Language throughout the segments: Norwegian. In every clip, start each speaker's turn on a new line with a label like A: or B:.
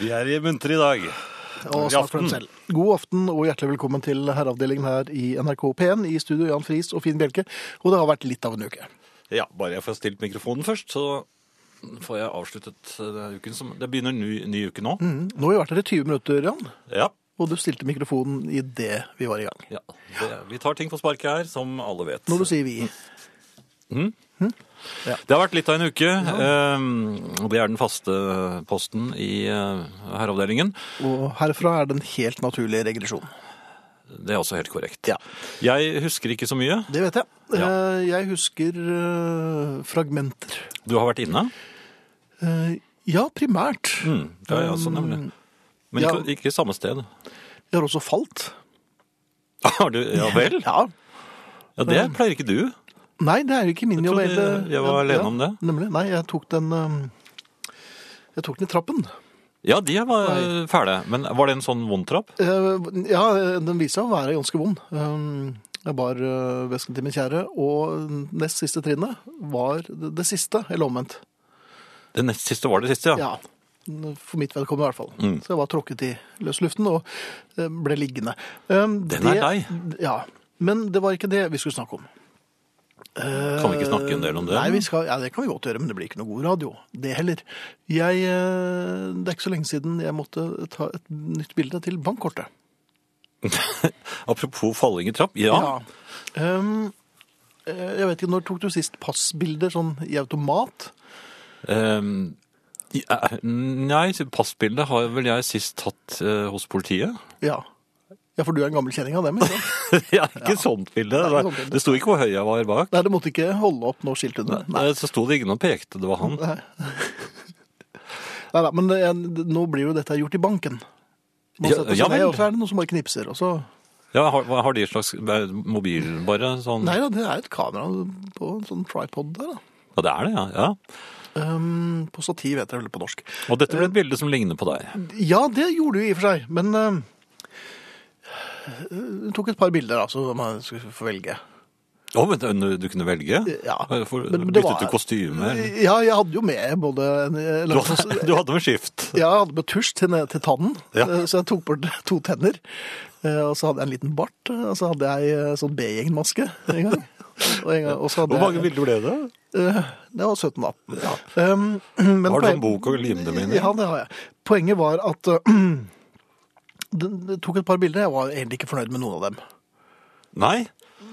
A: Vi er i muntre i dag.
B: Og snakk for dem selv. God aften og hjertelig velkommen til herreavdelingen her i NRK P1. I studio Jan Friis og Finn Bjelke. Og det har vært litt av en uke.
A: Ja, bare jeg får stilt mikrofonen først, så får jeg avsluttet eh, denne uken. Som, det begynner en ny, ny uke nå.
B: Mm. Nå har vi vært her i 20 minutter, Jan.
A: Ja,
B: Og du stilte mikrofonen idet vi var i gang.
A: ja. Det, vi tar ting på sparket her, som alle vet.
B: Når du sier vi.
A: Det har vært litt av en uke. Eh, og Det er den faste posten i eh, herreavdelingen.
B: Og herfra er det en helt naturlig regresjon.
A: Det er også helt korrekt.
B: Ja.
A: Jeg husker ikke så mye.
B: Det vet jeg.
A: Ja.
B: Eh, Jeg husker eh, fragmenter.
A: Du har vært inne.
B: Eh, Ja, primært.
A: Mm, det har jeg også, nemlig. Men
B: ja.
A: ikke, ikke samme sted.
B: Jeg har også falt.
A: Har du, ja vel?
B: Ja.
A: Ja, det pleier ikke du.
B: Nei, det er jo ikke min
A: Jeg
B: jobb.
A: trodde
B: hele-
A: jeg var alene om det.
B: Nemlig. Nei, jeg tok den eh, Jeg tok den i trappen.
A: Ja, de var eh, fæle. Men var det en sånn vond trapp?
B: Eh, Ja, den viser seg å være ganske vond. Eh, Jeg bar eh, vesken til min kjære, og nest siste trinnet var det det siste, eller omvendt.
A: Det nest siste var det siste, ja. Mm.
B: Ja. For mitt vedkommende i hvert fall. Så jeg var tråkket i løs luften og eh, ble liggende. Den
A: Den er deg.
B: Ja. Men det var ikke det vi skulle snakke om.
A: Kan vi ikke snakke en del om det?
B: Nei, vi skal, ja, det kan vi godt gjøre, men det blir ikke noe god radio. Det heller. Jeg, eh, det er ikke så lenge siden jeg måtte ta et nytt bilde til bankkortet.
A: Apropos falling i trapp. Ja.
B: Ja. Um, eh, jeg vet ikke, Når tok du sist passbilder sånn i automat?
A: Ehm, i- eh, nei, passbildet har vel jeg sist tatt eh, hos politiet.
B: Ja. ja, for du er en gammel kjenning av dem? ikke sant?
A: ja, ikke sånt bilde.
B: Nei, ikke
A: Det,
B: sånt bilde.
A: det sto ikke hvor høy jeg var bak.
B: Nei, du måtte ikke holde opp noe skilt under?
A: Eh, Så sto det ingen og pekte, det var han.
B: Nei da, men det er- det- nå blir jo dette gjort i banken. Man
A: Ja,
B: setter seg
A: ja
B: ned,
A: vel.
B: og så er det noen som bare knipser. Og så...
A: Ja, har, har de en slags eh, mobil, bare? Sånn?
B: Nei da, det er et kamera på en sånn tripod der, da.
A: Ja, det er det, ja. ja.
B: Um, på stativ heter det vel på norsk.
A: Og dette
B: Eh.
A: ble et bilde som ligner på deg.
B: Ja, det gjorde du i og for seg, men um, hun tok et par bilder, da, så man skulle få velge.
A: Å, vent, du- du kunne velge? Eh,
B: Ja,
A: For,
B: men det
A: byttet
B: var-
A: du kostyme? eller?
B: Ja, jeg hadde jo med både en, eller,
A: Du hadde, du hadde med skift?
B: Ja, jeg hadde med tusj til, til tannen,
A: Ja.
B: eh, så jeg tok bort to tenner. Eh, Og så hadde jeg en liten bart, eh, og så hadde jeg eh, sånn B-gjengmaske en gang. Og en gang og så hadde
A: Hvor mange
B: jeg,
A: bilder ble det?
B: eh, Det var 17 18. Ja. Um, men
A: Har du
B: poen-
A: sånn bok og lim dem inn i?
B: Ja, det har jeg. Poenget var at eh, det, det tok et par bilder, jeg var egentlig ikke fornøyd med noen av dem.
A: Nei?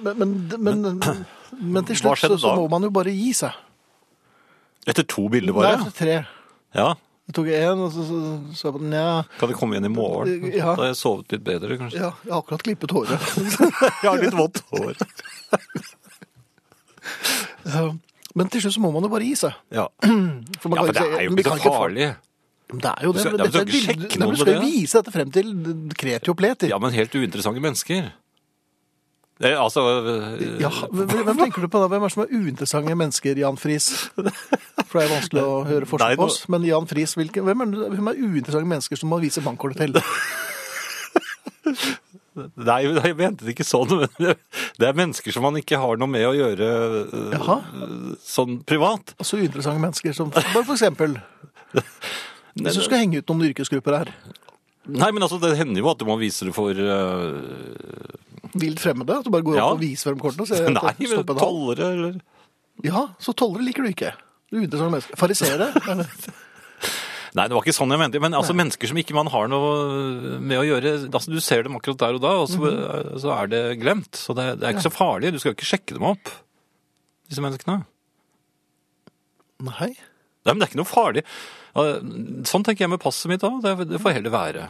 B: Men, men, men, men, til
A: Hva
B: slutt så,
A: skjedde
B: så
A: da?
B: må man jo bare gi seg.
A: Etter to bilder bare?
B: Nei, tre.
A: Ja.
B: Jeg tok én, og så så så jeg på den. Ja,
A: Kan det komme igjen i morgen?
B: Ja.
A: Da har jeg sovet litt bedre, kanskje.
B: ja, jeg har akkurat klippet håret.
A: Jeg har litt vått hår.
B: Eh, Men til slutt så må man jo bare gi seg.
A: Ja. ja,
B: For man kan
A: men det
B: si-
A: er jo
B: vi
A: ikke
B: kan
A: så farlig.
B: Men Det er jo
A: Du
B: det.
A: skal- ja, men du
B: men dette er
A: skal ikke
B: et
A: sjekke noen
B: bilde- Nei, men Du
A: på
B: skal jo
A: det.
B: vise dette frem til kreti og pleti.
A: Ja, men helt uinteressante mennesker. Eh, altså eh,
B: Ja, hvem hvem tenker du på da? Hvem er det som er uinteressante mennesker, Jan Friis? For det er vanskelig å høre
A: Nei,
B: forskjell på
A: nå-
B: oss. Men Jan Friis, hvilke, hvem, er, det- hvem er uinteressante mennesker som må vise bankkortet til?
A: Nei, jeg mente det ikke sånn. men Det det er mennesker som man ikke har noe med å gjøre eh,
B: Jaha.
A: sånn privat.
B: Altså uinteressante mennesker som Bare for eksempel. Hvis du skal henge ut noen yrkesgrupper her.
A: Nei, men altså, det hender jo at du må vise det for eh,
B: Vilt fremmede? At du bare går
A: Ja.
B: opp og viser frem kortet? Og sier,
A: Nei, men
B: stopp en hal.
A: tollere eller
B: Ja, så tollere liker du ikke. Uinteressante mennesker. Farisere? er det-
A: Nei, det var ikke sånn jeg mente. Men altså, mennesker som ikke man har noe med å gjøre altså, Du ser dem akkurat der og da, og så, så er det glemt. Så det, det er ikke så farlig. Du skal jo ikke sjekke dem opp, disse menneskene.
B: Nei.
A: Nei, men det er ikke noe farlig. Ja, Sånn tenker jeg med passet mitt òg. Det, det får heller være.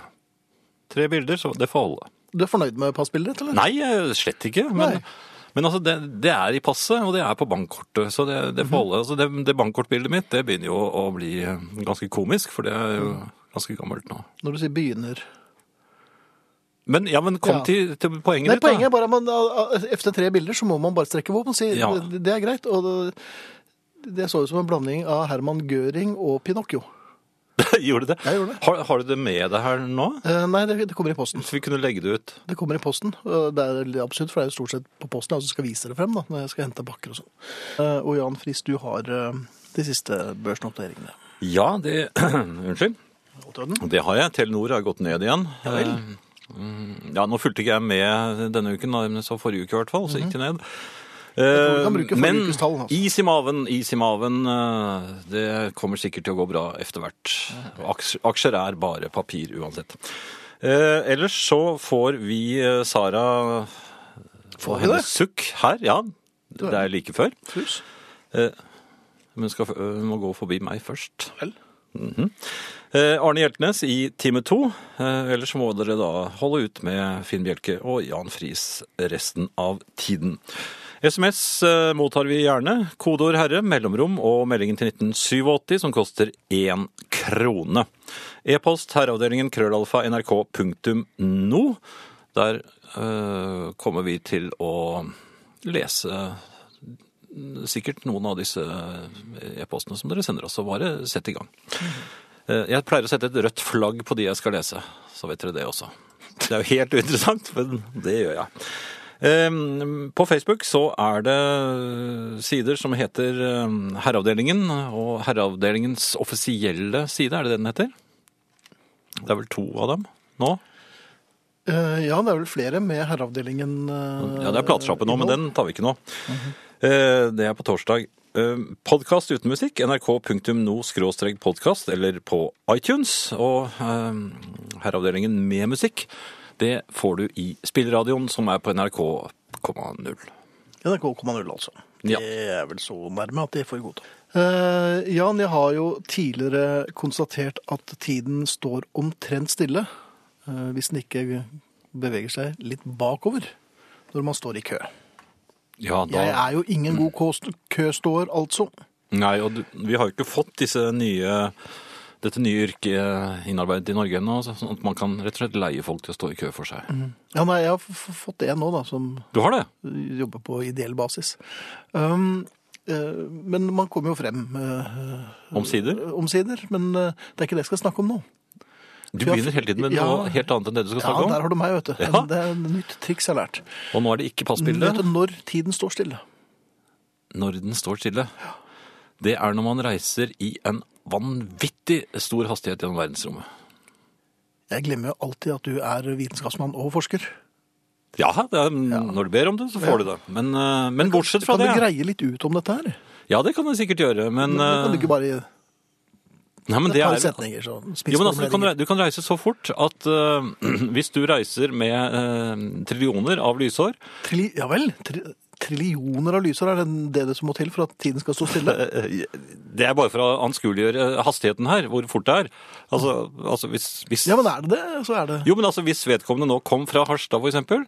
A: Tre bilder, så det får holde.
B: Du er fornøyd med passbildet, eller?
A: Nei, eh, slett ikke. Men,
B: Nei.
A: men altså, det, det er i passet, og det er på bankkortet. Så det, det får holde. Altså, det, det bankkortbildet mitt det begynner jo å bli eh, ganske komisk, for det er jo ganske gammelt nå.
B: Når du sier begynner.
A: Men, ja, men kom
B: Ja.
A: til, til poenget
B: Nei,
A: ditt,
B: poenget er bare at man, a- a- efter tre bilder så må man bare strekke våpen og si
A: Ja.
B: det, det er greit. Og det, det så ut som en blanding av Herman Göring og Pinocchio.
A: da. Gjorde du det?
B: Jeg gjorde det.
A: Har, har du det med deg her nå?
B: Eh, nei, det, det kommer i posten.
A: Så vi kunne legge det ut.
B: Det kommer i posten. Eh, Det er litt absurd, for det er jo stort sett på posten jeg også skal vise det frem da, når jeg skal hente pakker og sånn. Eh, og Jan Friis, du har eh, de siste børsnoteringene.
A: Ja, det Unnskyld. Det har jeg. Telenor har gått ned igjen.
B: Mm. Ja vel.
A: Eh, mm, Ja, nå fulgte ikke jeg med denne uken, da, men så forrige uke i hvert fall, så gikk det ned. Eh,
B: vi Mhm. kan bruke forrige
A: Men
B: ukes tall, altså.
A: is i maven, is i maven. eh, Det kommer sikkert til å gå bra etter hvert. Og Aksjer aksjer er bare papir uansett. Eh, Ellers så får vi eh, Sara og
B: Får vi
A: hennes
B: det?
A: sukk her. Ja,
B: Du er-
A: det er like før.
B: Sus.
A: Men hun skal, øh, hun må gå forbi meg først.
B: Vel.
A: Mhm. eh, Arne Hjeltnes i time to. Eh, ellers må dere da holde ut med Finn Bjelke og Jan Friis resten av tiden. SMS eh, mottar vi gjerne. Kodeord herre, mellomrom og meldingen til 1987 som koster én krone. E-post herreavdelingen krøllalfa nrk.no. Der eh, kommer vi til å lese sikkert noen av disse eh, e-postene som dere sender oss, så bare sett i gang. Eh, Jeg pleier å sette et rødt flagg på de jeg skal lese, så vet dere det også. Det er jo helt uinteressant, men det gjør jeg. Eh, På Facebook så er det eh, sider som heter eh, Herreavdelingen, og Herreavdelingens offisielle side, er det det den heter? Det er vel to av dem nå?
B: Eh, ja, det er vel flere med herreavdelingen. eh,
A: Ja, det er platesjappe nå, men den tar vi ikke nå. Eh, Det er på torsdag. Podkast uten musikk, nrk.no-podkast eller på iTunes. Og eh, herreavdelingen med musikk, det får du i spilleradioen som er på nrk,0.
B: NRK,0 altså. Det
A: Ja.
B: er vel så nærme at det får vi godta. Eh, Jan, jeg har jo tidligere konstatert at tiden står omtrent stille eh, hvis den ikke beveger seg litt bakover når man står i kø.
A: Ja, da
B: Jeg er jo ingen god kås- køståer, altså.
A: Nei, og du, vi har jo ikke fått disse nye dette nye yrket eh, innarbeidet i Norge ennå, sånn at man kan rett og slett leie folk til å stå i kø for seg.
B: Ja, nei, jeg har f f- fått en nå, da, som
A: Du har det?
B: jobber på ideell basis. Um, eh, men man kommer jo frem eh,
A: Omsider?
B: omsider. Men eh, det er ikke det jeg skal snakke om nå.
A: Du
B: Vi har
A: begynner hele tiden med noe
B: ja.
A: helt annet enn det du skal
B: Ja,
A: snakke om.
B: der har du meg, vet du. Altså,
A: Ja.
B: Det er et nytt triks jeg har lært.
A: Og nå er det ikke
B: Vet
A: passbildet
B: du når tiden står stille?
A: når den står stille. Det er når man reiser i en vanvittig stor hastighet gjennom verdensrommet.
B: Jeg glemmer jo alltid at du er vitenskapsmann og forsker.
A: Ja, det er, når du ber om det, så får du det. Men, eh, men bortsett fra
B: Kan du
A: det ja.
B: greie litt ut om dette her?
A: Ja, det kan jeg sikkert gjøre, men,
B: Men Kan du
A: eh,
B: ikke bare gi et
A: nei, men det
B: par
A: er,
B: setninger? Så
A: jo, men altså, du,
B: Sånn
A: kan, rei- du kan reise så fort at eh, hvis du reiser med eh, trillioner av lysår
B: Tri, ja vel? Tri, trillioner av lysår, er det det det som må til for at tiden skal stå stille?
A: eh, Det er bare for å anskueliggjøre hastigheten her, hvor fort det er. Altså, altså hvis, hvis
B: Ja, men er det det, så er det
A: Jo, men altså, hvis vedkommende nå kom fra Harstad, for eksempel,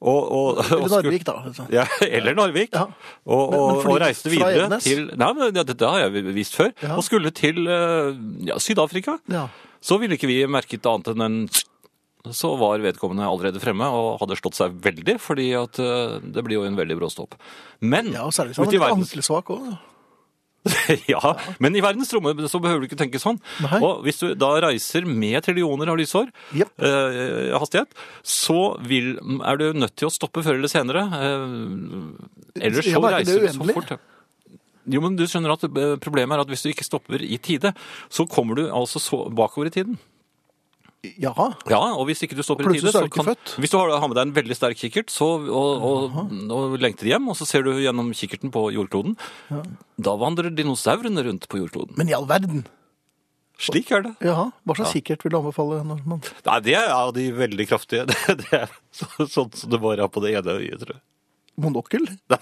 A: og, og, og
B: Eller
A: skulle-
B: Narvik, da. altså.
A: Ja, eller Narvik.
B: Ja.
A: Og,
B: Men- men
A: og,
B: fly
A: og reiste
B: fra
A: videre
B: Evenes?
A: til Nei, men ja, dette har jeg visst før.
B: Ja.
A: Og skulle til eh, ja, Syd-Afrika.
B: Ja.
A: Så ville ikke vi merket annet enn en så var vedkommende allerede fremme og hadde slått seg veldig, fordi at eh, det blir jo en veldig brå stopp. Men
B: ja, og særlig hvis han
A: ute i
B: er litt
A: verdens-
B: ankelsvak òg.
A: ja, men i verdensrommet så behøver du ikke tenke sånn.
B: Nei.
A: Og hvis du da reiser med trillioner av lysår,
B: Jep.
A: eh, hastighet, så vil, er du nødt til å stoppe før eller senere. Eh, ellers
B: Ja,
A: så
B: men er ikke det
A: reiser du så
B: uendelig?
A: fort. Jo, men du skjønner at eh, problemet er at hvis du ikke stopper i tide, så kommer du altså så bakover i tiden.
B: Ja.
A: Ja, og hvis ikke du stopper i tide,
B: Plutselig så
A: så
B: er du ikke
A: kan...
B: født.
A: Hvis du har, har med deg en veldig sterk kikkert så, og, og, og lengter hjem, og så ser du gjennom kikkerten på jordkloden, da vandrer dinosaurene rundt på jordkloden.
B: Men i all verden!
A: Slik er det.
B: Jaha. Hva slags kikkert vil du anbefale? Når man...
A: Nei, det er av de veldig kraftige. Det, det er så, sånn som det bare er på det ene øyet, tror jeg.
B: Monokkel?
A: De,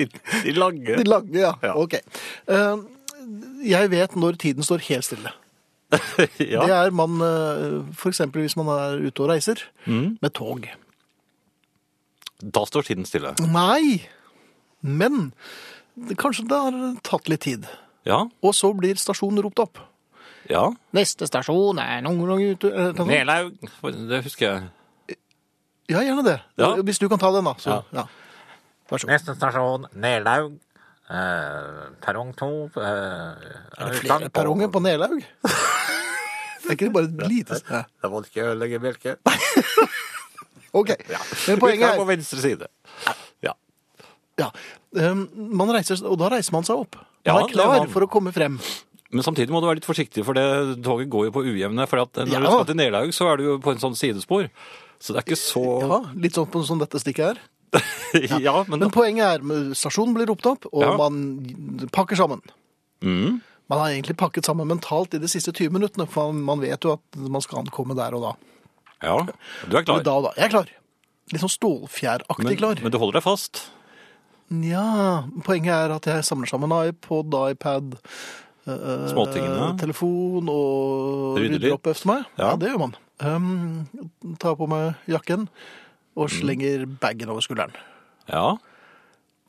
A: de lange.
B: De lange, ja.
A: Ja.
B: Ok. Eh, Jeg vet når tiden står helt stille.
A: ja.
B: Det er man eh, for eksempel hvis man er ute og reiser
A: Mm.
B: med tog.
A: Da står tiden stille.
B: Nei! Men det- kanskje det har tatt litt tid.
A: Ja,
B: Og så blir stasjonen ropt opp.
A: ja.
B: Neste stasjon er noen ganger ute eller noe sånt.
A: Nelaug. Det husker jeg.
B: Ja, gjerne det.
A: Ja.
B: Hvis du kan ta den, da. Så, ja. Vær så god.
C: Neste stasjon, Nelaug. Eh, perrong 2. Eh,
B: Er det flere perronger på Nelaug? Det er ikke bare et lite sted.
C: Det må ikke ødelegge bjelke.
B: OK. Men poenget
A: Poenget
B: er
A: på venstre side. Ja.
B: ehm, Ja. Um, Man reiser, og da reiser man seg opp.
A: Ja,
B: Vær
A: det
B: klar
A: var-
B: for å komme frem.
A: Men samtidig må du være litt forsiktig, for det toget går jo på ujevne. For at når
B: Ja.
A: du skal til Nelaug, så er du jo på en sånn sidespor. Så det er ikke så
B: Ja, litt sånn på som dette stikket her.
A: Ja, men,
B: Men poenget er men stasjonen blir ropt opp, og
A: Ja.
B: man pakker sammen.
A: mm,
B: Man har egentlig pakket sammen mentalt i de siste 20 minuttene, for man vet jo at man skal ankomme der og da.
A: ja, du er
B: Eller
A: klar.
B: da og da. Jeg er klar. Litt sånn stålfjæraktig
A: Men,
B: klar.
A: men du holder deg fast.
B: Nja, poenget er at jeg samler sammen iPod, iPad, eh,
A: Småtingene.
B: telefon og
A: Rydder
B: rydder,
A: litt.
B: opp efter meg.
A: Ja.
B: Ja. det gjør man. Um, tar på meg jakken og
A: Mm.
B: slenger bagen over skulderen.
A: Ja,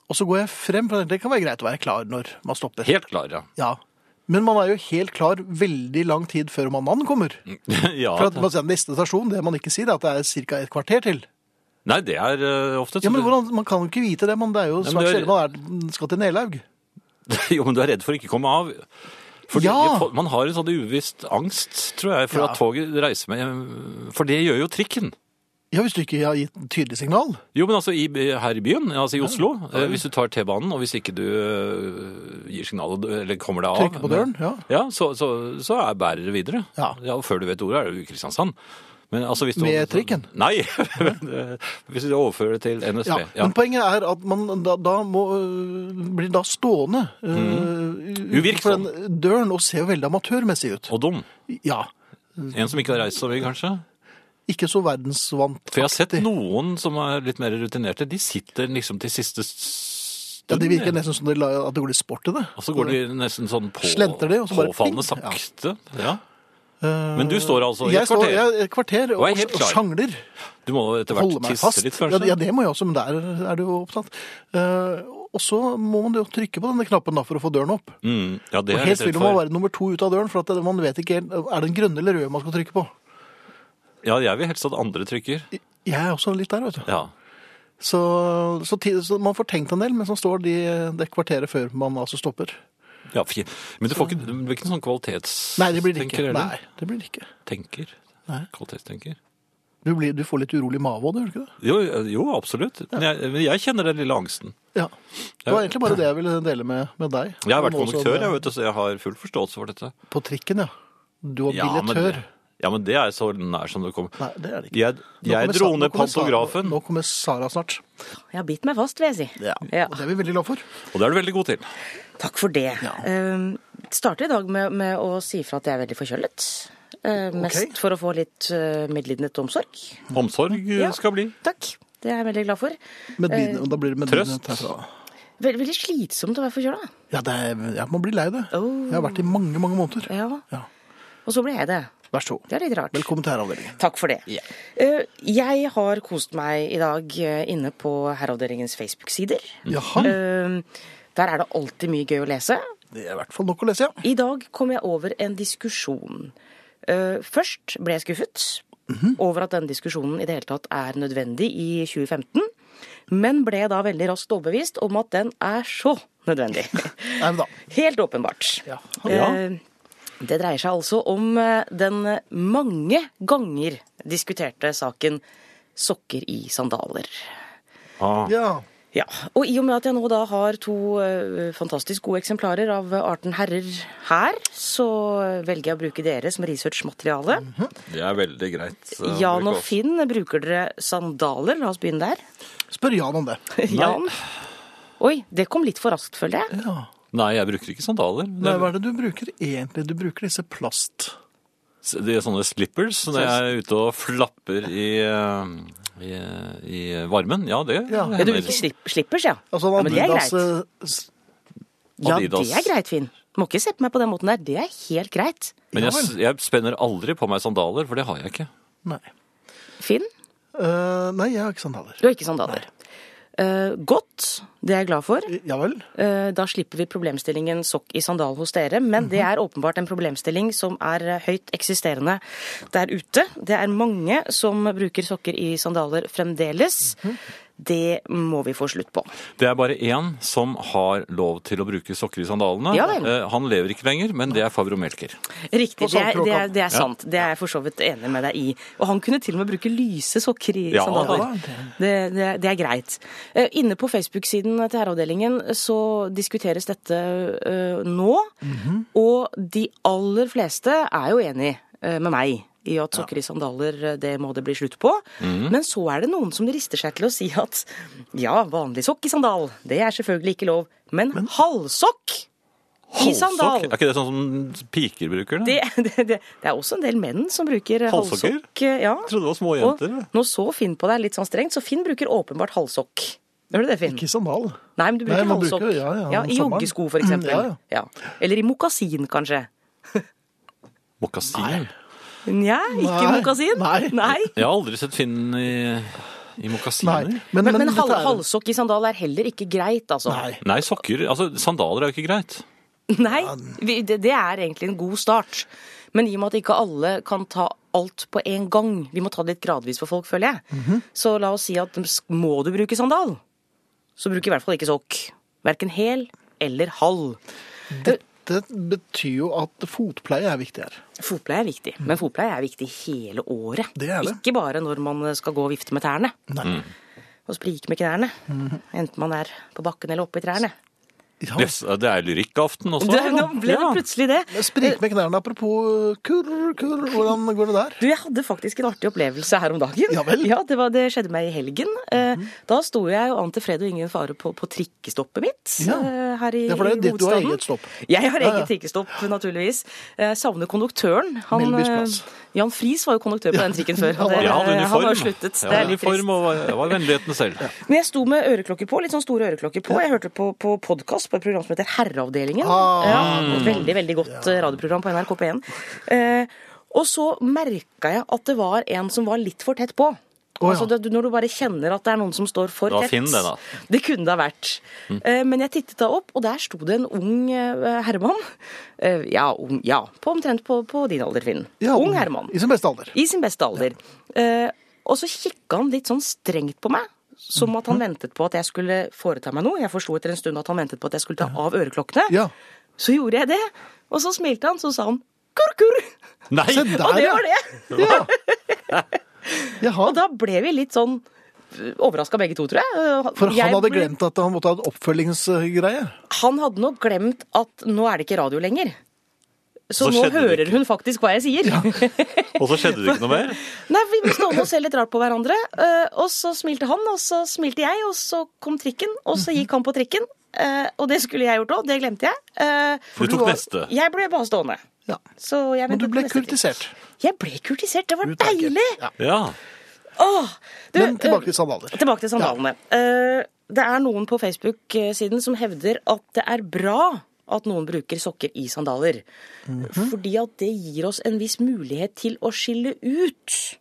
B: Og så går jeg frem, for det kan være greit å være klar når man stopper.
A: helt klar, ja.
B: Ja. Men man er jo helt klar veldig lang tid før man mannen kommer.
A: ja.
B: For at man sier neste stasjon, det man ikke sier, er at det er ca. et kvarter til.
A: Nei, det er eh, ofte
B: Ja, men
A: du-
B: hvordan, Man kan jo ikke vite det, men det er jo
A: men
B: svært
A: du er-
B: sjelden man er, skal til Nelaug.
A: Jo, men du er redd for å ikke komme av. Fordi
B: Ja.
A: fo- Man har en sånn uvisst angst, tror jeg, for
B: Ja.
A: at toget reiser med For det gjør jo trikken.
B: Ja, Hvis du ikke har gitt tydelig signal.
A: Jo, men altså i, her i byen, altså i Oslo, eh, hvis du tar T-banen, og hvis ikke du eh, gir signal eller kommer deg av
B: Trekker på døren, ja.
A: Ja, så, så, så er bærer det videre.
B: Ja.
A: og Før du vet ordet, er du i Kristiansand. Men altså hvis du,
B: Med trikken?
A: Nei! men, eh, hvis du overfører det til NSB.
B: Ja,
A: Ja,
B: Men poenget er at man da, da må, øh, blir da stående øh, utenfor
A: Mhm. Uvirksom.
B: den døren og ser jo veldig amatørmessig ut.
A: Og dum.
B: Ja,
A: En som ikke har reist så mye, kanskje.
B: Ikke så verdensvant.
A: For jeg har sett noen som er litt mer rutinerte. De sitter liksom til siste stund.
B: Ja, Det virker nesten som det, la- at det går litt sport i det.
A: Og så går de nesten sånn på,
B: Slenter de, og så bare
A: påfallende
B: ping, ja.
A: sakte. Ja.
B: Eh,
A: Men du står altså i
B: jeg
A: et kvarter.
B: Står, ja, et kvarter og,
A: Og er helt
B: og
A: klar.
B: sjangler.
A: Du må etter hvert
B: Holder meg fast.
A: tisse litt,
B: ja,
A: kanskje?
B: det- ja, det må jeg også, men der er du jo opptatt. Eh, og så må man jo trykke på denne knappen da, for å få døren opp.
A: Mm, ja, det
B: Og
A: er jeg
B: helst
A: litt
B: vil
A: redd
B: man
A: for.
B: være nummer to ut av døren, for at man vet ikke helt Er det den grønne eller røde man skal trykke på?
A: Ja, jeg vil helst at andre trykker.
B: Jeg er også litt der, vet du.
A: Ja.
B: Så, så, ti- så man får tenkt en del, men så står de det kvarteret før man altså stopper.
A: ja fi- men du får ikke, det blir ikke en sånn kvalitetstenker?
B: Nei, det blir det ikke.
A: eller?
B: Nei, det blir det ikke.
A: Tenker?
B: Nei.
A: Kvalitetstenker?
B: Du, blir, du får litt urolig mave òg, gjør du ikke det?
A: Jo, jo absolutt. Men jeg, men jeg kjenner den lille angsten.
B: Ja. Det var egentlig bare det jeg ville dele med, med deg.
A: Jeg har vært
B: Noe som-
A: konduktør, jeg vet, du, så jeg har full forståelse for dette.
B: På trikken, ja. Du var
A: men,
B: billettør.
A: ja, men det er så nær som det kommer.
B: Nei, det er det ikke.
A: Jeg,
B: Nå
A: jeg
B: kommer
A: dro
B: Sa- nå
A: ned
B: kommer Sa-
A: pantografen,
B: Nå kommer Sara snart.
D: Jeg har bitt meg fast, vil jeg si. Ja.
B: Og det er vi veldig glad for.
A: og det er du veldig god til.
D: Takk for det. Ehm, starter i dag med, med å si fra at jeg er veldig forkjølet. Eh, mest
B: Ok.
D: for å få litt uh, medlidenhet og omsorg.
A: Omsorg eh,
D: Ja.
A: skal bli.
D: Takk. Det er jeg veldig glad for.
B: Med dine,
D: Eh.
B: og da blir det med
A: Trøst.
B: dine herfra.
D: Veldig, veldig slitsomt å være forkjøla.
B: Ja, det er, ja, man blir lei det.
D: Oh.
B: Jeg har vært i mange, mange måneder.
D: Ja.
B: Ja.
D: Og så ble jeg det.
B: Vær så god.
D: Det er litt rart.
B: Velkommen til herreavdelingen.
D: Takk for det. Eh, jeg har kost meg i dag eh, inne på Herreavdelingens Facebook-sider.
A: Mm.
B: Jaha.
D: Eh, der er det alltid mye gøy å lese.
B: Det er i hvert fall nok å lese, ja.
D: I dag kom jeg over en diskusjon. Eh, Først ble jeg skuffet over at denne diskusjonen i det hele tatt er nødvendig i 2015. Men ble da veldig raskt overbevist om at den er så nødvendig.
B: Nei, men da.
D: Helt åpenbart.
B: Ja.
D: Eh, Det dreier seg altså om eh, den mange ganger diskuterte saken sokker i sandaler.
A: Ah.
B: Ja.
D: Ja, Og i og med at jeg nå da har to eh, fantastisk gode eksemplarer av arten herrer her, så velger jeg å bruke dere som researchmateriale.
B: Mhm.
A: Det er veldig greit. eh,
D: Jan
A: Ulrik
D: og
A: Aas.
D: Finn, bruker dere sandaler? La oss begynne der.
B: Spør Jan om det.
D: Jan? Oi, det kom litt for raskt, føler jeg.
B: Ja.
A: Nei, jeg bruker ikke sandaler.
B: Nei,
A: Det
B: hva er det du bruker egentlig? Du bruker disse plast...
A: er, det er sånne slippers når jeg er ute og flapper i, eh, i, i varmen. Ja, det
B: Ja.
D: Ja, du
A: hender.
D: bruker slip slippers, ja.
B: Altså
D: ja
B: en
D: men det er
B: Adidas
D: greit.
B: eh, s-
D: Ja,
A: Adidas.
D: det er greit, Finn. Må ikke se på meg på den måten der. Det er helt greit.
A: Men jeg, jeg spenner aldri på meg sandaler, for det har jeg ikke.
B: Nei.
D: Finn,
B: Eh, nei, jeg har ikke sandaler.
D: du har ikke sandaler. Eh, godt, det er jeg glad for.
B: Ja vel?
D: Eh, Da slipper vi problemstillingen sokk i sandal hos dere, men det er åpenbart en problemstilling som er eh, høyt eksisterende der ute. Det er mange som bruker sokker i sandaler fremdeles. Det må vi få slutt på.
A: Det er bare én som har lov til å bruke sokker i sandalene.
D: Ja vel.
A: Eh, Han lever ikke lenger, men det er Favro Melker.
D: Riktig,
B: På
D: det er, det
B: sandkråka.
D: er, det er sant. Det er jeg for så vidt enig med deg i. Og han kunne til og med bruke lyse sokker i
A: Ja,
D: sandaler.
B: da.
D: Det, det, det er greit. Eh, Inne på Facebook-siden til Herreavdelingen så diskuteres dette eh, nå. Og de aller fleste er jo enig eh, med meg i at sokker i sandaler, eh, det må det bli slutt på. Men så er det noen som rister seg til å si at ja, vanlig sokk i sandal, det er selvfølgelig ikke lov. Men, halvsokk i sandal!
A: Halssokk? Er ikke det sånn som piker bruker?
D: Det, det, det, det er også en del menn som bruker
A: Halssokker?
D: halssokk. Ja.
A: Jeg trodde det var små
D: Og
A: jenter. det.
D: nå så Finn på deg litt sånn strengt, så Finn bruker åpenbart halssokk. Gjør du det, Finn?
B: Ikke sandal.
D: Nei, men du
B: Nei,
D: bruker
B: man
D: halssokk.
B: bruker- ja, ja, om
D: I
B: sommeren. Mm,
D: joggesko, for eksempel.
B: Ja, ja.
D: Eller i mokasin, kanskje.
A: Mokasiner.
D: Nja, ikke
B: Nei,
D: mokasin.
B: nei.
A: Jeg har aldri sett Finn i, i
B: Nei.
A: mokasiner.
B: Men,
D: Men, men,
B: dette
D: hal
B: er-
D: halvsokk i sandal er heller ikke greit, altså.
B: Nei.
A: Nei, sokker Altså, sandaler er jo ikke greit.
D: Nei, vi- det, det er egentlig en god start. Men i og med at ikke alle kan ta alt på en gang, vi må ta det litt gradvis for folk, føler jeg,
B: Mhm.
D: så la oss si at s- må du bruke sandal, så bruk i hvert fall ikke sokk. Verken hel eller halv.
B: Dette betyr jo at fotpleie er viktig her.
D: Fotpleie er viktig, men fotpleie er viktig hele året.
B: Mm. Det er det.
D: Ikke bare når man skal gå og vifte med tærne.
B: Nei. Mhm.
D: Og sprike med knærne. Enten man er på bakken eller oppe i trærne.
B: Ja.
A: Yes, det er lyrikkaften også.
D: Du,
B: Sånn,
D: nå ble det
A: Ja.
D: plutselig det.
B: Sprik med knærne, apropos eh, kurr, kurr, hvordan går det der?
D: Du, jeg hadde faktisk en artig opplevelse her om dagen.
B: Ja vel.
D: det, var, det skjedde meg i helgen. Eh, Da sto jeg jo an til fred og ingen fare på, på trikkestoppet mitt
B: Ja.
D: eh, her i
B: Ja, for det er jo ditt- du har
D: hovedstaden.
B: eget stopp.
D: Jeg har
B: ja.
D: eget trikkestopp, naturligvis. Jeg savner konduktøren. Han,
B: Melbys
D: eh,
B: plass.
D: Jan Friis var jo konduktør på den trikken før. og det-
A: Jeg hadde uniform.
D: Han har sluttet.
A: Jeg
D: det
A: hadde
D: er litt trist.
A: uniform og var- jeg var vennligheten selv.
D: Men jeg sto med øreklokker på, litt sånn store øreklokker på. Jeg hørte på, på podkast på et program som heter Herreavdelingen.
B: Ah.
D: Ja, et veldig, veldig godt eh, radioprogram på NRK P1. Eh, og så merka jeg at det var en som var litt for tett på.
B: Å, ja.
D: Altså det- Når du bare kjenner at det er noen som står for
A: Det var
D: tett.
A: Finn, det da.
D: Det kunne det ha vært. Eh, Men jeg tittet da opp, og der sto det en ung eh, herremann. Eh, Ja, ung, ja på omtrent på, på din alder, Finn.
B: Ja,
D: ung herremann.
B: I sin beste alder.
D: I sin beste alder. Eh, og så kikka han litt sånn strengt på meg. Som at han ventet på at jeg skulle foreta meg noe. Jeg forsto etter en stund at han ventet på at jeg skulle ta av øreklokkene.
B: Ja.
D: Så gjorde jeg det. Og så smilte han, så sa han kurr-kurr.
A: Nei!
B: Se der,
D: Og det var det.
B: Ja. Jaha.
D: Og da ble vi litt sånn overraska begge to, tror jeg. Eh,
B: For han
D: Jeg
B: hadde
D: ble-
B: glemt at han måtte ha en oppfølgingsgreie.
D: Han hadde nok glemt at nå er det ikke radio lenger.
A: Så
D: Så, nå
A: skjedde det
D: hører
A: ikke.
D: hun faktisk hva jeg sier.
A: Og så skjedde det ikke noe mer?
D: Nei, vi ble stående og se litt rart på hverandre. eh, Og så smilte han, og så smilte jeg, og så kom trikken, og så gikk han på trikken. eh, Og det skulle jeg gjort òg, det glemte jeg. Eh,
A: Du tok neste.
D: Jeg ble bare stående.
B: Ja.
D: Så jeg
B: Men du
D: ventet på
B: ble
D: neste trikk.
B: kurtisert.
D: Jeg ble kurtisert. Det var
B: Utmerket.
D: deilig!
B: Ja.
A: Ja.
D: Åh, du,
B: Men tilbake
D: eh,
B: til sandaler.
D: Tilbake til sandalene. Eh, Det er noen på Facebook-siden som hevder at det er bra at noen bruker sokker i sandaler.
B: Mhm.
D: Fordi at det gir oss en viss mulighet til å skille ut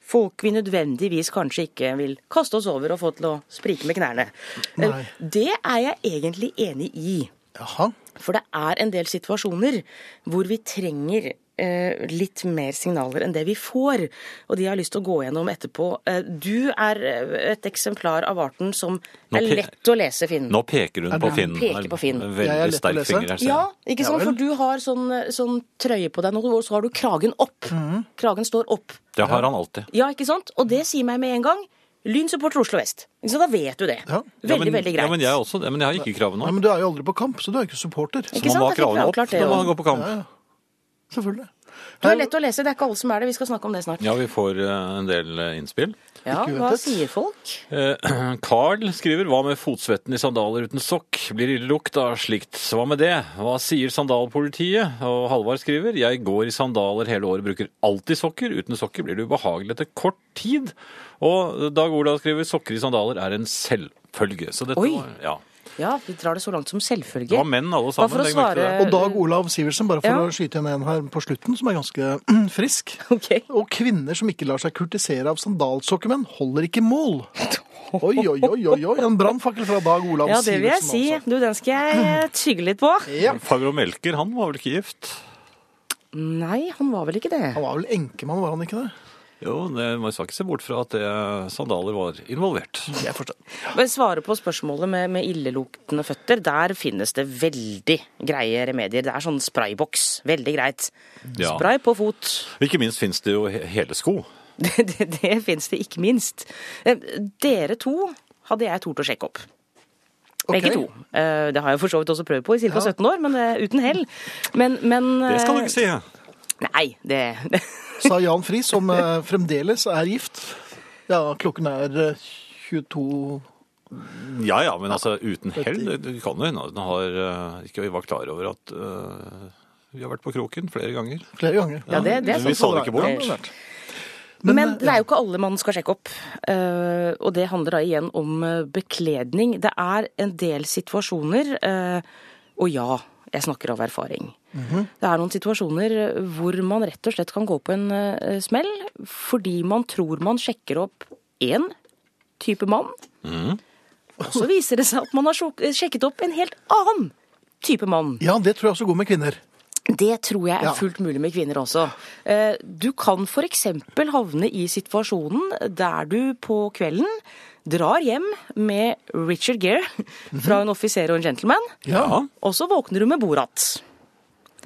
D: folk vi nødvendigvis kanskje ikke vil kaste oss over og få til å sprike med knærne. Eh,
B: Nei.
D: Det er jeg egentlig enig i.
B: Jaha.
D: For det er en del situasjoner hvor vi trenger eh, litt mer signaler enn det vi får. Og de har lyst til å gå gjennom etterpå. Eh, du er eh, et eksemplar av arten som
A: Nå
D: er
A: pe-
D: lett å lese, Finn.
A: Nå peker hun på
B: det-
A: Finn.
D: Peker på Finn.
B: Jeg er
A: Veldig
B: lett å
A: sterk
B: lese.
A: finger her. ser jeg.
D: Ja, ikke sant?
B: Ja vel.
D: For du har sånn, sånn trøye på deg nå, og så har du kragen opp.
A: Mm.
D: Kragen står opp.
A: Det har han alltid.
D: Ja, ikke sant? Og det sier meg med en gang. Lyn supporter Oslo vest. Så da vet du det.
B: Ja.
D: Veldig,
A: ja, men,
D: veldig greit.
A: Ja, men jeg, er også, det, men jeg har ikke kravet nå.
B: Nei, men du er jo aldri på kamp, så du er ikke supporter.
D: Ikke
A: Så man må
D: sant?
A: ha
D: Det er
A: kravene opp
D: klart det,
A: når
D: ja.
A: man går på kamp.
B: Selvfølgelig.
D: Du er lett å lese, det er ikke alle som er det. Vi skal snakke om det snart.
A: Ja, vi får eh, en del eh, innspill.
D: Ja,
B: Ikke
D: hva
B: uventet.
D: sier folk?
A: Eh, Carl skriver Hva med fotsvetten i sandaler uten sokk? Blir ille lukt av slikt. Så Hva med det? Hva sier sandalpolitiet? Og Halvard skriver Jeg går i sandaler hele året, bruker alltid sokker. Uten sokker blir det ubehagelig etter kort tid. Og Dag Olav skriver sokker i sandaler er en selvfølge. Så dette
D: Oi.
A: var Ja.
D: Ja, vi drar det så langt som selvfølge.
A: Det var menn alle sammen.
D: Bare for å
A: legg merke til det.
D: svare-
B: Og Dag Olav Sivertsen, bare for
D: Ja.
B: å skyte inn en her på slutten, som er ganske frisk.
D: Ok.
B: Og kvinner som ikke lar seg kurtisere av sandalsokkemenn, holder ikke mål. Oi, oi, oi, oi, oi. En brannfakkel fra Dag Olav
D: Ja, det vil jeg
B: Sivertsen.
D: si.
B: altså.
D: Du, den skal jeg eh,
A: altså.
D: tygge litt på.
B: Ja.
A: Favreau Melker, han var vel ikke gift?
D: Nei, han var vel ikke det.
B: Han var vel enkemann, var han ikke det?
A: Jo, det, man skal ikke se bort fra at det, sandaler var involvert.
B: Jeg forstår.
D: Men Svare på spørsmålet med, med illeluktende føtter. Der finnes det veldig greie remedier. Det er sånn sprayboks. Veldig greit.
A: Ja.
D: Spray på fot.
A: Ikke minst finnes det jo he- hele sko.
D: Det, det, det fins det ikke minst. Eh, Dere to hadde jeg tort å sjekke opp. Begge
B: Ok.
D: to. Eh, Det har jeg for så vidt også prøvd på i ca. 17 år, men eh, uten hell. Men, men
A: Det skal du
D: eh,
A: ikke si.
D: Nei, det, det
B: Sa Jan Friis, som eh, fremdeles er gift. Ja, klokken er eh, 22
A: Ja ja, men altså uten hell. Det det kan jo hende at den har eh, ikke vi var klar over at eh, vi har vært på kroken flere ganger.
B: flere ganger.
D: Ja, det- det er
A: vi
D: sant.
A: så det ikke bort.
B: Ja, det er klart.
D: Men, det er jo ikke alle man skal sjekke opp. eh, og det handler da igjen om eh, bekledning. Det er en del situasjoner, eh, og ja, jeg snakker av erfaring. Det er noen situasjoner eh, hvor man rett og slett kan gå på en eh, smell fordi man tror man sjekker opp én type mann, og så viser det seg at man har sjok- sjekket opp en helt annen type mann.
B: ja, det tror jeg også går med kvinner.
D: Det tror jeg
B: Ja.
D: er fullt mulig med kvinner også. Eh, Du kan f.eks. havne i situasjonen der du på kvelden drar hjem med Richard Gere
B: Mhm.
D: fra en offiser og en gentleman,
A: Ja.
D: og så våkner du med Borat.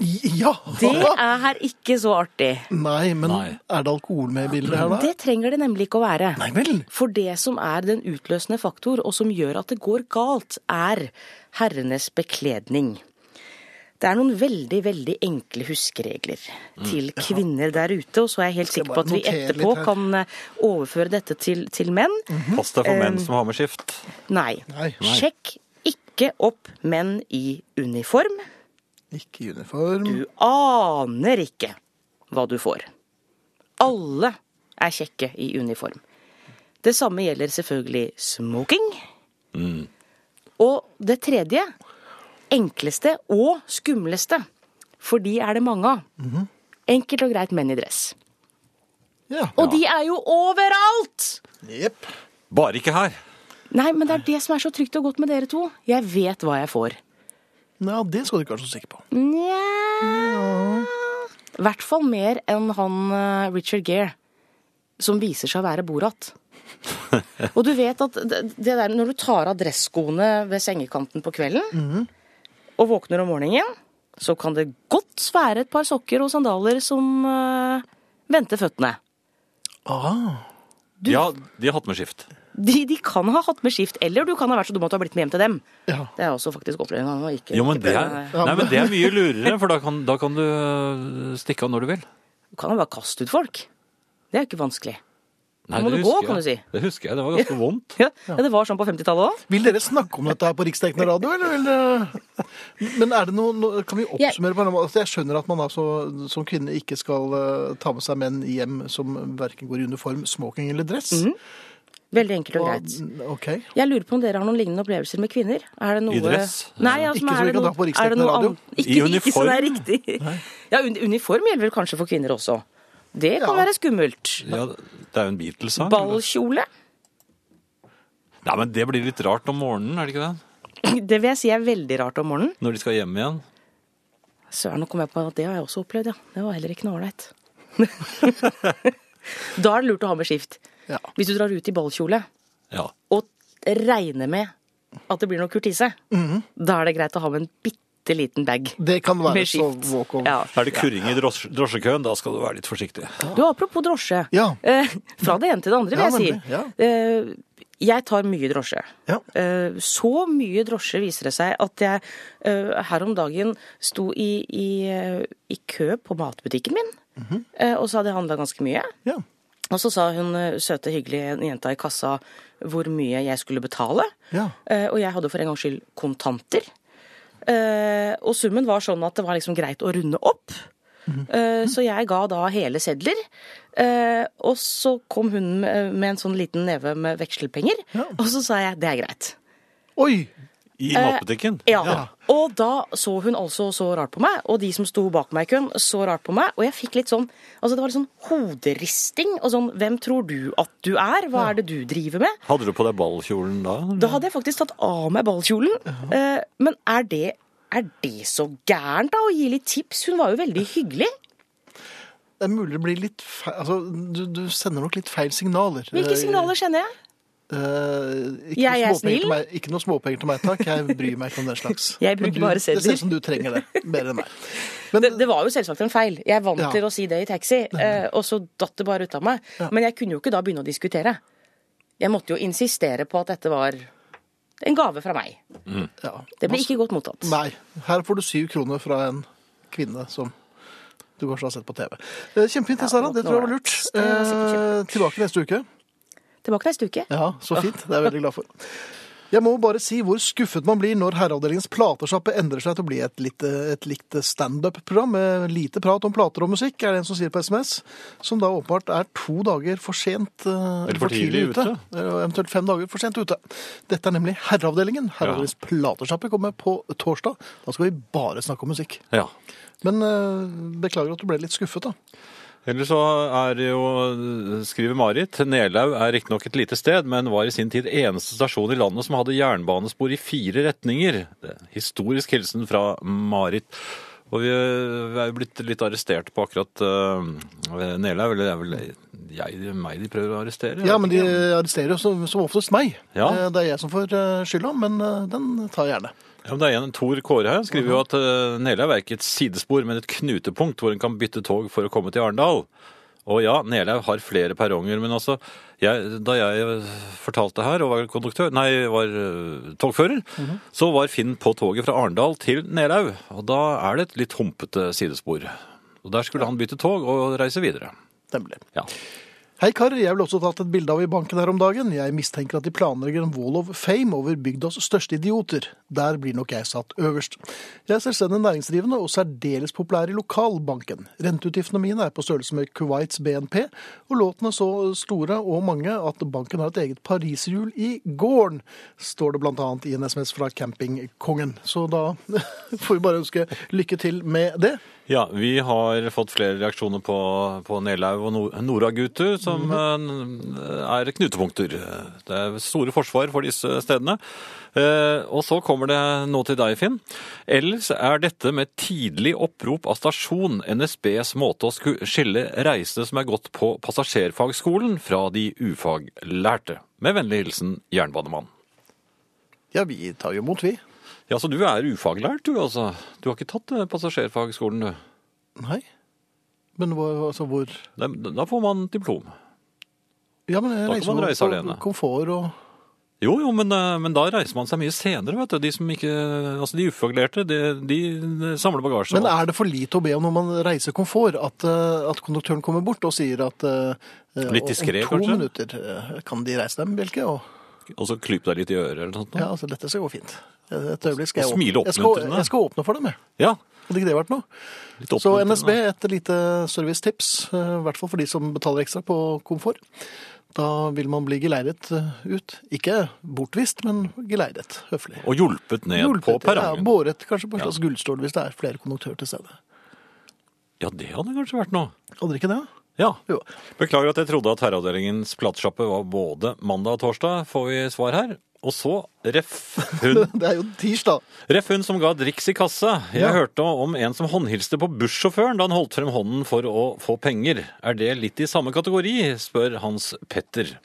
B: Ja!
D: Det er ikke så artig.
B: Nei, men
A: Nei.
B: er det alkohol med i bildet her, da?
D: Det trenger det nemlig ikke å være.
B: Nei vel.
D: For det som er den utløsende faktor, og som gjør at det går galt, er herrenes bekledning. Det er noen veldig veldig enkle huskeregler til kvinner der ute. Og så er jeg helt
B: Mm. Skal jeg
D: sikker på
B: bare
D: at vi
B: notere litt
D: etterpå
B: her. Mm.
D: kan eh, overføre dette til, til menn.
A: Pass deg for
D: Eh,
A: menn som har med skift.
D: Nei.
B: Nei. Nei.
D: Sjekk ikke opp menn i uniform.
B: Ikke i uniform.
D: Du aner ikke hva du får. Alle er kjekke i uniform. Det samme gjelder selvfølgelig smoking. Og det tredje, enkleste og skumleste, for de er det mange av. Enkelt og greit menn i dress.
B: Ja.
D: Og de er jo overalt!
B: Jepp.
A: Bare ikke her.
D: Nei, men det er det som er så trygt og godt med dere to. Jeg vet hva jeg får.
B: Ja, det skal du ikke være så sikker på.
D: Nja I hvert fall mer enn han eh, Richard Gere, som viser seg å være Borat. Og du vet at det det der når du tar av dresskoene ved sengekanten på kvelden,
A: Mhm.
D: og våkner om morgenen, så kan det godt være et par sokker og sandaler som eh, venter føttene.
B: Ah.
A: Ja, de har hatt med skift.
D: De, de kan ha hatt med skift, eller du kan ha vært så dum at du har blitt med hjem til dem.
B: Ja.
D: Det er også faktisk opplevd en gang. og ikke-
A: Jo, men
D: ikke
A: det
D: ble-
A: er, nei, men det er mye lurere, for da kan, da kan du øh, stikke av når du vil.
D: Du kan jo bare kaste ut folk. Det er jo ikke vanskelig.
A: Nei,
D: Må
A: det
D: du gå,
A: husker
D: kan
A: jeg.
D: du si.
A: Det husker jeg. Det var ganske vondt.
D: Ja, ja. Det var sånn på 50-tallet òg.
B: Vil dere snakke om dette her på riksdekkende radio, eller vil dere Men er det noe no- Kan vi oppsummere på en måte? Jeg skjønner at man altså, som kvinne ikke skal eh, ta med seg menn hjem som verken går i uniform, smoking eller dress.
D: Veldig enkelt og
B: Og-
D: Mhm. greit.
B: Ok.
D: Jeg lurer på om dere har noen lignende opplevelser med kvinner? Er det noe...
A: I dress?
D: Nei, altså,
B: Ikke
D: men
B: så vi
D: er det
B: kan
D: noe...
B: dra på
D: er det
B: riksdekkende
D: noe
B: radio.
D: ann- Ikke,
A: I
D: Ikke så det er
A: uniform?
D: riktig. Ja, un uniform gjelder vel kanskje for kvinner også. Det kan
B: Ja.
D: være skummelt.
A: Ja, det er jo en Beatles-sang. eller?
D: Ballkjole?
A: Nei, men det blir litt rart om morgenen, er det ikke det?
D: Det vil jeg si er veldig rart om morgenen.
A: Når de skal hjem igjen.
D: Søren, nå kom jeg på at det har jeg også opplevd, ja. Det var heller ikke noe ålreit. da er det lurt å ha med skift.
B: Ja.
D: Hvis du drar ut i ballkjole
A: Ja.
D: og regner med at det blir noe kurtise,
B: Mhm.
D: da er det greit å ha med en bitte liten bag.
B: Det kan være
D: Med
B: så
D: skift.
B: walkover.
D: Ja.
A: Er det kurring i drosje, drosjekøen, da skal du være litt forsiktig.
D: Du, apropos drosje.
B: Ja.
D: Eh, fra det ene til det andre,
B: Ja,
D: vil jeg
B: nemlig, ja.
D: si. Eh, jeg tar mye drosje.
B: Ja.
D: Eh, så mye drosje viser det seg at jeg eh, her om dagen sto i, i, eh, i kø på matbutikken min,
B: Mhm.
D: eh, og så hadde jeg handla ganske mye.
B: Ja.
D: Og så sa hun eh, søte, hyggelige jenta i kassa hvor mye jeg skulle betale.
B: Ja.
D: Eh, Og jeg hadde for en gangs skyld kontanter. Eh, Og summen var sånn at det var liksom greit å runde opp. Eh, Så jeg ga da hele sedler. Eh, Og så kom hun med med en sånn liten neve med vekslepenger. Og så sa jeg det er greit.
B: Oi!
A: I matbutikken?
D: Eh, Ja. Og da så hun altså så rart på meg, og de som sto bak meg i køen, så rart på meg. Og jeg fikk litt sånn altså det var litt sånn hoderisting. Og sånn Hvem tror du at du er? Hva er det du driver med?
A: Hadde du på deg ballkjolen da?
D: Da hadde jeg faktisk tatt av meg ballkjolen. Eh, Men er det, er det så gærent, da? Å gi litt tips? Hun var jo veldig hyggelig.
B: Det er mulig det blir litt feil altså, du, du sender nok litt feil signaler.
D: Hvilke signaler kjenner jeg?
B: Eh, ikke noe
D: Jeg
B: småpenger
D: er
B: til
D: snill.
B: meg- Ikke noe småpenger til meg, takk. Jeg bryr meg ikke om den slags.
D: Jeg
B: Men
D: bruker
B: du,
D: bare
B: Det ser
D: sedler.
B: ut som du trenger det mer enn meg. Men,
D: Det, det var jo selvsagt en feil. Jeg er vant
B: Ja.
D: til å si det i taxi, eh, og så datt det bare ut av meg. Men jeg kunne jo ikke da begynne å diskutere. Jeg måtte jo insistere på at dette var en gave fra meg.
B: ja. altså,
D: Det ble ikke godt mottatt.
B: Nei. Her får du syv kroner fra en kvinne som du kanskje har sett på TV. Eh, Kjempefint,
D: Ja,
B: Sara.
D: nå-
B: Det tror jeg
D: nå
B: var
D: er
B: lurt.
D: det- det er sikkert
B: Eh, tilbake neste uke.
D: Tilbake neste uke.
B: Ja, så fint. Det er jeg veldig glad for. Jeg må bare si hvor skuffet man blir når Herreavdelingens platesjappe endrer seg til å bli et, lite, et likt standup-program med lite prat om plater og musikk, er det en som sier på SMS. Som da åpenbart er to dager for sent eh,
A: Eller for tidlig ute.
B: Eh, og Eventuelt fem dager for sent ute. Dette er nemlig Herreavdelingen. Herreavdelingens platesjappe kommer på torsdag. Da skal vi bare snakke om musikk.
A: Ja.
B: Men eh, beklager at du ble litt skuffet, da.
A: Eller så er det jo, skriver Marit, Nelaug er riktignok et lite sted, men var i sin tid eneste stasjon i landet som hadde jernbanespor i fire retninger. Det er Historisk hilsen fra Marit. Og vi er jo blitt litt arrestert på akkurat eh, Nelaug, eller det er vel jeg, meg de prøver å arrestere?
B: Ja, men de arresterer jo som, som oftest meg.
A: Ja.
B: Eh, Det er jeg som får eh, skylda, men eh, den tar jeg gjerne.
A: Ja, men det er en Tor Kåre her, skriver jo at eh, Nelaug er ikke et sidespor, men et knutepunkt hvor en kan bytte tog for å komme til Arendal. Og ja, Nelaug har flere perronger, men altså, jeg, da jeg fortalte her og var konduktør, nei, var eh, togfører, så var Finn på toget fra Arendal til Nelaug, og da er det et litt humpete sidespor. Og der skulle han bytte tog og reise videre.
B: Nemlig.
A: Ja.
B: Hei karer, jeg ble også tatt et bilde av i banken her om dagen. Jeg mistenker at de planlegger en wall of fame over bygdas største idioter. Der blir nok jeg satt øverst. Jeg er selvstendig næringsdrivende og særdeles populær i lokalbanken. Renteutgiftene mine er på størrelse med Kuwaits BNP, og låtene så store og mange at banken har et eget pariserhjul i gården, står det blant annet i en SMS fra campingkongen. Så da får vi bare ønske lykke til med det.
A: Ja, vi har fått flere reaksjoner på, på Nelaug og Nor- Nora-gutter, som eh, er knutepunkter. Det er store forsvar for disse stedene. Eh, og så kommer det noe til deg, Finn. Ellers er dette med tidlig opprop av stasjon NSBs måte å sku- skille reisende som er gått på passasjerfagskolen fra de ufaglærte. Med vennlig hilsen jernbanemann.
B: Ja, vi tar jo imot, vi.
A: Ja, så du er ufaglært du, altså. Du har ikke tatt eh, passasjerfagskolen, du.
B: Nei. Men hvor, altså hvor
A: Da, da får man diplom.
B: Ja, men
A: Da
B: jeg
A: kan
B: reiser
A: man
B: meg
A: reise
B: på
A: alene.
B: komfort og
A: Jo, jo, men, eh, men da reiser man seg mye senere, vet du. De som ikke Altså, de ufaglærte, de, de samler bagasje.
B: Men er det for lite å be om når man reiser komfort, at, eh, at konduktøren kommer bort og sier at eh,
A: Litt
B: om
A: diskret,
B: to
A: kanskje?
B: minutter eh, kan de reise dem, Bjelke? Og,
A: Og så klyp deg litt i øret eller noe sånt.
B: ja,
A: Ja.
B: altså, dette skal gå fint. Et øyeblikk skal
A: Og
B: jeg
A: smile
B: åpne. Jeg skal,
A: oppmuntrende.
B: jeg skal åpne for dem, jeg.
A: ja
B: Hadde ikke det vært noe?
A: litt
B: Så
A: oppmuntrende.
B: NSB, et lite servicetips, eh, i hvert fall for de som betaler ekstra på komfort. Da vil man bli geleidet eh, ut. Ikke bortvist, men geleidet høflig.
A: Og hjulpet ned på
B: Hjulpet, Ja,
A: perrongen. Ja,
B: båret kanskje på en slags gullstol hvis det er flere konduktører til stede.
A: det hadde kanskje vært noe.
B: Hadde dere ikke det?
A: Ja.
B: Jo.
A: Beklager at jeg trodde at herreavdelingens platesjappe var både mandag og torsdag, får vi svar her. Og så ref hun
B: Det er jo tirsdag.
A: Ref hun som ga driks i kassa. Jeg
B: Ja.
A: hørte om en som håndhilste på bussjåføren da han holdt frem hånden for å få penger. Er det litt i samme kategori, spør Hans Petter.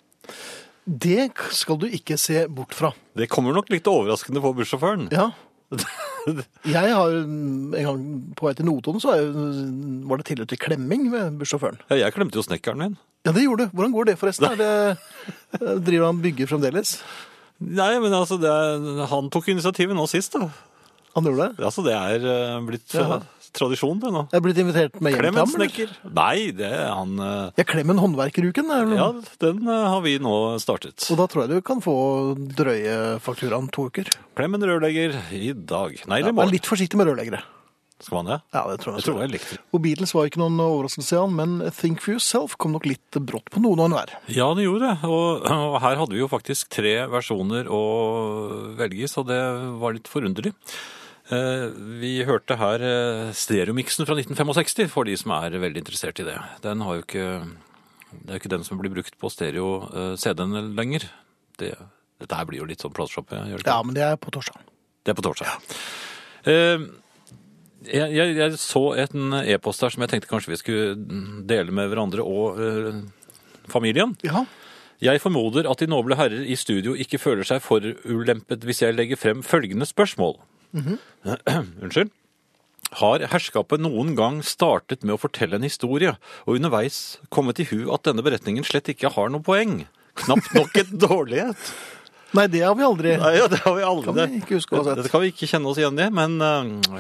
B: Det skal du ikke se bort fra.
A: Det kommer nok litt overraskende på bussjåføren.
B: Ja. Jeg har en gang på vei til Notodden, så er jo- var det tilløp til klemming med bussjåføren.
A: Ja, jeg klemte jo snekkeren min.
B: Ja, det gjorde du. Hvordan går det forresten? Er det, driver han bygger fremdeles?
A: Nei, men altså, det er, han tok initiativet nå sist, da.
B: Han gjorde det?
A: Altså, det er eh, blitt
B: Jaha.
A: eh, tradisjon, det nå.
B: Jeg er blitt invitert med hjem
A: Klem en
B: til ham, eller?
A: snekker. Nei, det er han eh,
B: Ja, klem en håndverkeruken. er det
A: Ja,
B: noe?
A: den eh, har vi nå startet.
B: Og da tror jeg du kan få drøye fakturaen to uker.
A: Klem en rørlegger i dag. Nei, eller
B: Ja,
A: i
B: vær
A: morgen.
B: litt forsiktig med rørleggere.
A: Skal man det?
B: Ja, det tror jeg.
A: Jeg tror det er elektriker.
B: Og Beatles var ikke noen overraskelse, Jan, men Think for Yourself kom nok litt brått på noen og enhver.
A: Ja, det gjorde det. Og, og her hadde vi jo faktisk tre versjoner å velge i, så det var litt forunderlig. Eh, Vi hørte her eh, stereomiksen fra 1965, for de som er veldig interessert i det. Den har jo ikke Det er jo ikke den som blir brukt på stereo-CD-en lenger. Det, dette her blir jo litt sånn plateshoppe. gjør det ikke?
B: Ja, men det er på torsdag.
A: Det er på torsdag. Eh, Jeg, jeg, jeg så en e-post her som jeg tenkte kanskje vi skulle dele med hverandre og eh, familien.
B: Ja.
A: Jeg formoder at de noble herrer i studio ikke føler seg forulempet hvis jeg legger frem følgende spørsmål. Unnskyld. Har herskapet noen gang startet med å fortelle en historie, og underveis kommet i hu at denne beretningen slett ikke har noe poeng? Knapt nok en dårlighet.
B: Nei, det har vi aldri.
A: Nei, ja, det har vi aldri.
B: Kan vi ikke huske å ha sett.
A: Dette kan vi ikke kjenne oss igjen i, men øh,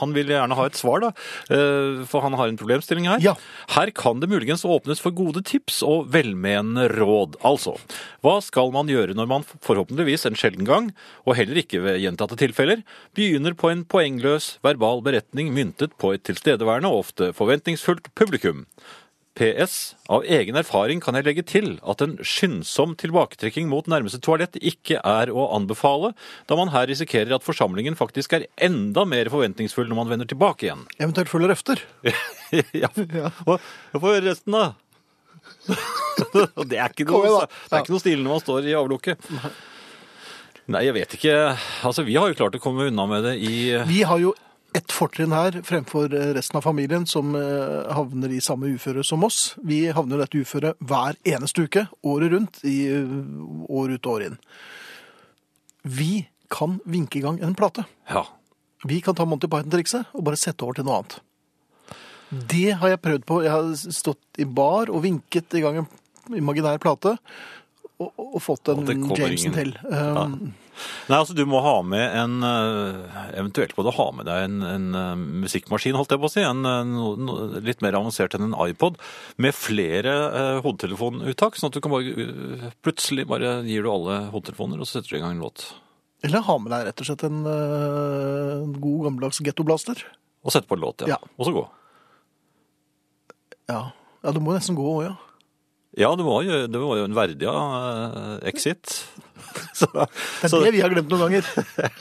A: han vil gjerne ha et svar, da. Øh, for han har en problemstilling her.
B: Ja.
A: Her kan det muligens åpnes for gode tips og velmenende råd. Altså, hva skal man gjøre når man forhåpentligvis en sjelden gang, og heller ikke ved gjentatte tilfeller, begynner på en poengløs verbal beretning myntet på et tilstedeværende og ofte forventningsfullt publikum? PS. Av egen erfaring kan jeg legge til at en skyndsom tilbaketrekking mot nærmeste toalett ikke er å anbefale, da man her risikerer at forsamlingen faktisk er enda mer forventningsfull når man vender tilbake igjen.
B: Eventuelt følger efter.
A: ja, og jeg får høre resten, da. Og det er ikke
B: Kom
A: noe,
B: igjen, da.
A: det er ikke noe stilig når man står i avlukket. Nei, jeg vet ikke. Altså, vi har jo klart å komme unna med det i
B: Vi har jo et fortrinn her fremfor eh, resten av familien som eh, havner i samme uføre som oss. Vi havner i dette uføret hver eneste uke, året rundt, i eh, år ut og år inn. Vi kan vinke i gang en plate.
A: Ja.
B: Vi kan ta Monty Python-trikset og bare sette over til noe annet. Det har jeg prøvd på. Jeg har stått i bar og vinket i gang en imaginær plate. Og, og fått en
A: Og det kommer ingen.
B: Jameson til. Um,
A: Nei, altså du må ha med en eh, Eventuelt må du ha med deg en, en eh, musikkmaskin, holdt jeg på å si. En, eh, no- no- litt mer avansert enn en iPod. Med flere eh, hodetelefonuttak, sånn at du kan bare eh, Plutselig bare gir du alle hodetelefoner, og så setter du i gang en låt.
B: Eller ha med deg rett og slett en, eh, en god gammeldags gettoblaster.
A: Og setter på en låt, ja.
B: Ja.
A: Og så gå.
B: Ja. ja, du må nesten gå òg, ja.
A: Ja, det var jo, det var jo en verdig eh, exit. så,
B: Det er
A: så-
B: det vi har glemt noen ganger.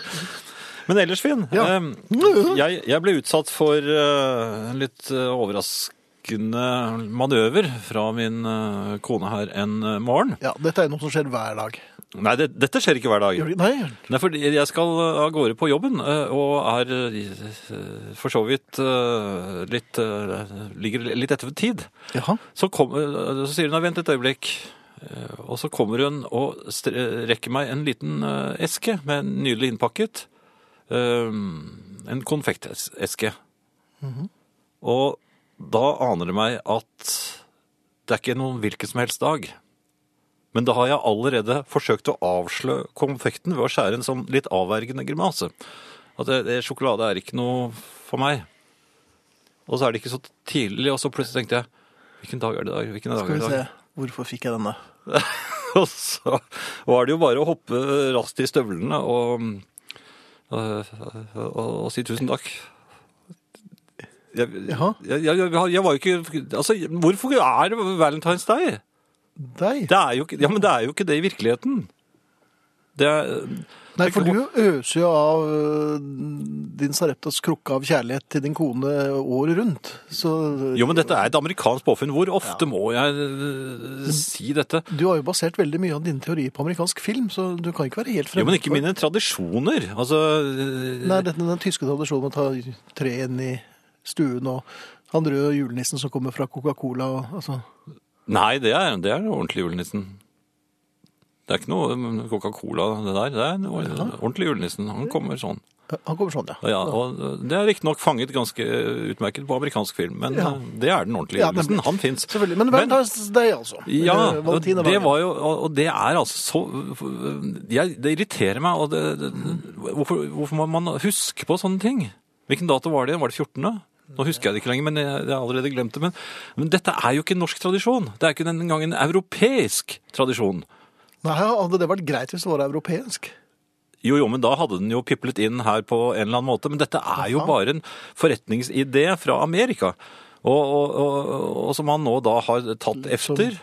A: Men ellers, Finn.
B: Ja.
A: eh, Jeg, jeg ble utsatt for eh, en litt eh, overraskende manøver fra min eh, kone her en eh, morgen.
B: Ja, Dette er noe som skjer hver dag.
A: Nei, det, dette skjer ikke hver dag.
B: Gjør det- Nei,
A: Nei, fordi jeg skal eh, av gårde på jobben, eh, og er eh, for så vidt eh, litt eh, Ligger litt etter for tid.
B: jaha.
A: Så, kom, eh, så sier hun 'nei, vent et øyeblikk'. Eh, Og så kommer hun og stre- rekker meg en liten eh, eske med en nydelig innpakket. eh, En konfekteske.
B: Mhm.
A: Og da aner det meg at det er ikke noen hvilken som helst dag. Men da har jeg allerede forsøkt å avsløre konfekten ved å skjære en sånn litt avvergende grimase. At det, det, sjokolade er ikke noe for meg. Og så er det ikke så tidlig, og så plutselig tenkte jeg Hvilken dag er det i dag? Hvilken dag
B: Skal
A: er det
B: vi
A: i dag?
B: se. Hvorfor fikk jeg denne?
A: Og så var det jo bare å hoppe raskt i støvlene og, og, og, og si tusen takk. Jeg, jeg,
B: Jaha.
A: jeg, jeg, jeg var jo ikke Altså, hvorfor er det Valentine's Day?
B: Deg?
A: Det er jo ikke, ja, men det er jo ikke det i virkeligheten. Det er,
B: Nei, for du øser jo av øh, din Sareptas krukke av kjærlighet til din kone året rundt. Så
A: jo, men dette er et amerikansk påfunn. Hvor ofte må jeg øh, si dette?
B: du har jo basert veldig mye av din teori på amerikansk film, så du kan ikke være helt fremmed.
A: Jo, men ikke
B: for-
A: mine tradisjoner. Altså øh,
B: Nei, dette er den tyske tradisjonen med å ta tre inn i stuen, og han røde julenissen som kommer fra Coca-Cola. og- Altså.
A: Nei, det er, det er ordentlig julenissen. Det er ikke noe mm, Coca-Cola, det der. Det er en ord- ordentlig julenissen. Han kommer sånn.
B: Han kommer sånn, ja.
A: Ja, og det er riktignok fanget ganske utmerket på amerikansk film, men
B: Ja.
A: eh, det er den ordentlige
B: Ja,
A: julenissen.
B: nemlig.
A: Han fins.
B: Selvfølgelig. Men Valentine's Day, altså.
A: Ja,
B: Eller
A: og
B: Valentine's
A: det
B: Day.
A: var jo Og og det er altså så jeg, Det irriterer meg. Og det, det, hvorfor, hvorfor må man huske på sånne ting? Hvilken dato var det? Var det 14.? Nå husker jeg det ikke lenger, men jeg, jeg har allerede glemt det. Men, men dette er jo ikke en norsk tradisjon. Det er ikke den gang en europeisk tradisjon.
B: Nei, hadde det vært greit hvis det var europeisk?
A: Jo, jo, men da hadde den jo piplet inn her på en eller annen måte. Men dette er jo
B: Aha.
A: bare en forretningsidé fra Amerika. Og, og, og, og som han nå da har tatt
B: Som-
A: efter.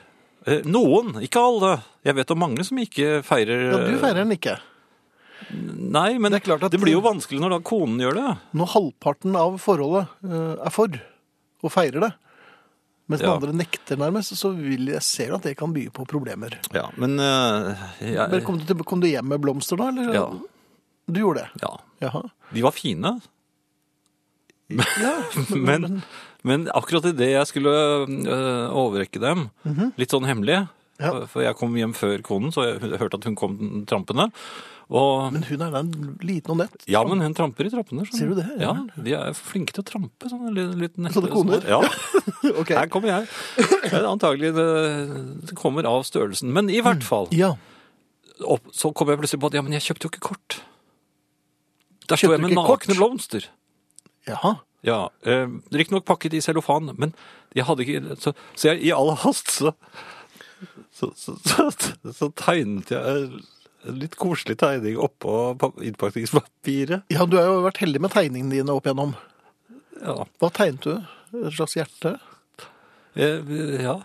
A: Eh, Noen, ikke alle. Jeg vet om mange som ikke feirer eh,
B: Ja, du feirer den ikke.
A: Nei, men det,
B: Det er klart at-
A: blir jo vanskelig når da konen gjør det.
B: Når halvparten av forholdet eh, er for, og feirer det, mens den
A: Ja.
B: andre nekter nærmest, så vil jeg ser du at det kan by på problemer.
A: Ja, men eh,
B: Men
A: jeg,
B: kom du, til, kom du hjem med blomster da, eller?
A: ja,
B: Du gjorde det?
A: ja.
B: Jaha.
A: De var fine.
B: Ja,
A: Men, men akkurat idet jeg skulle øh, overrekke dem, litt sånn hemmelig
B: Mhm. Ja.
A: øh, For jeg kom hjem før konen, så jeg hu- hørte at hun kom trampende. Og
B: men hun er da en liten og nett.
A: ja, men hun tramper i trappene. skjønner
B: Sier du det?
A: Ja, De er flinke til å trampe. sånn Sånne li- litt nette,
B: Sånne koner?
A: sånne- Ja.
B: Ok.
A: Her kommer jeg. Det er Antagelig det, det kommer av størrelsen. Men i hvert fall.
B: Ja.
A: Opp, så kom jeg plutselig på at ja, men jeg kjøpte jo ikke kort. Der sto
B: Kjøpte
A: jeg med
B: du ikke kort?
A: nakne blomster.
B: Jaha.
A: Ja, eh, Riktignok pakket i cellofan, men jeg hadde ikke Så, så jeg, i all hast så så, så, så, så tegnet jeg en litt koselig tegning oppå pa- innpakningspapiret.
B: Ja, du har jo vært heldig med tegningene dine opp igjennom.
A: Ja.
B: Hva tegnet du? Et slags hjerte?
A: Jeg, ja.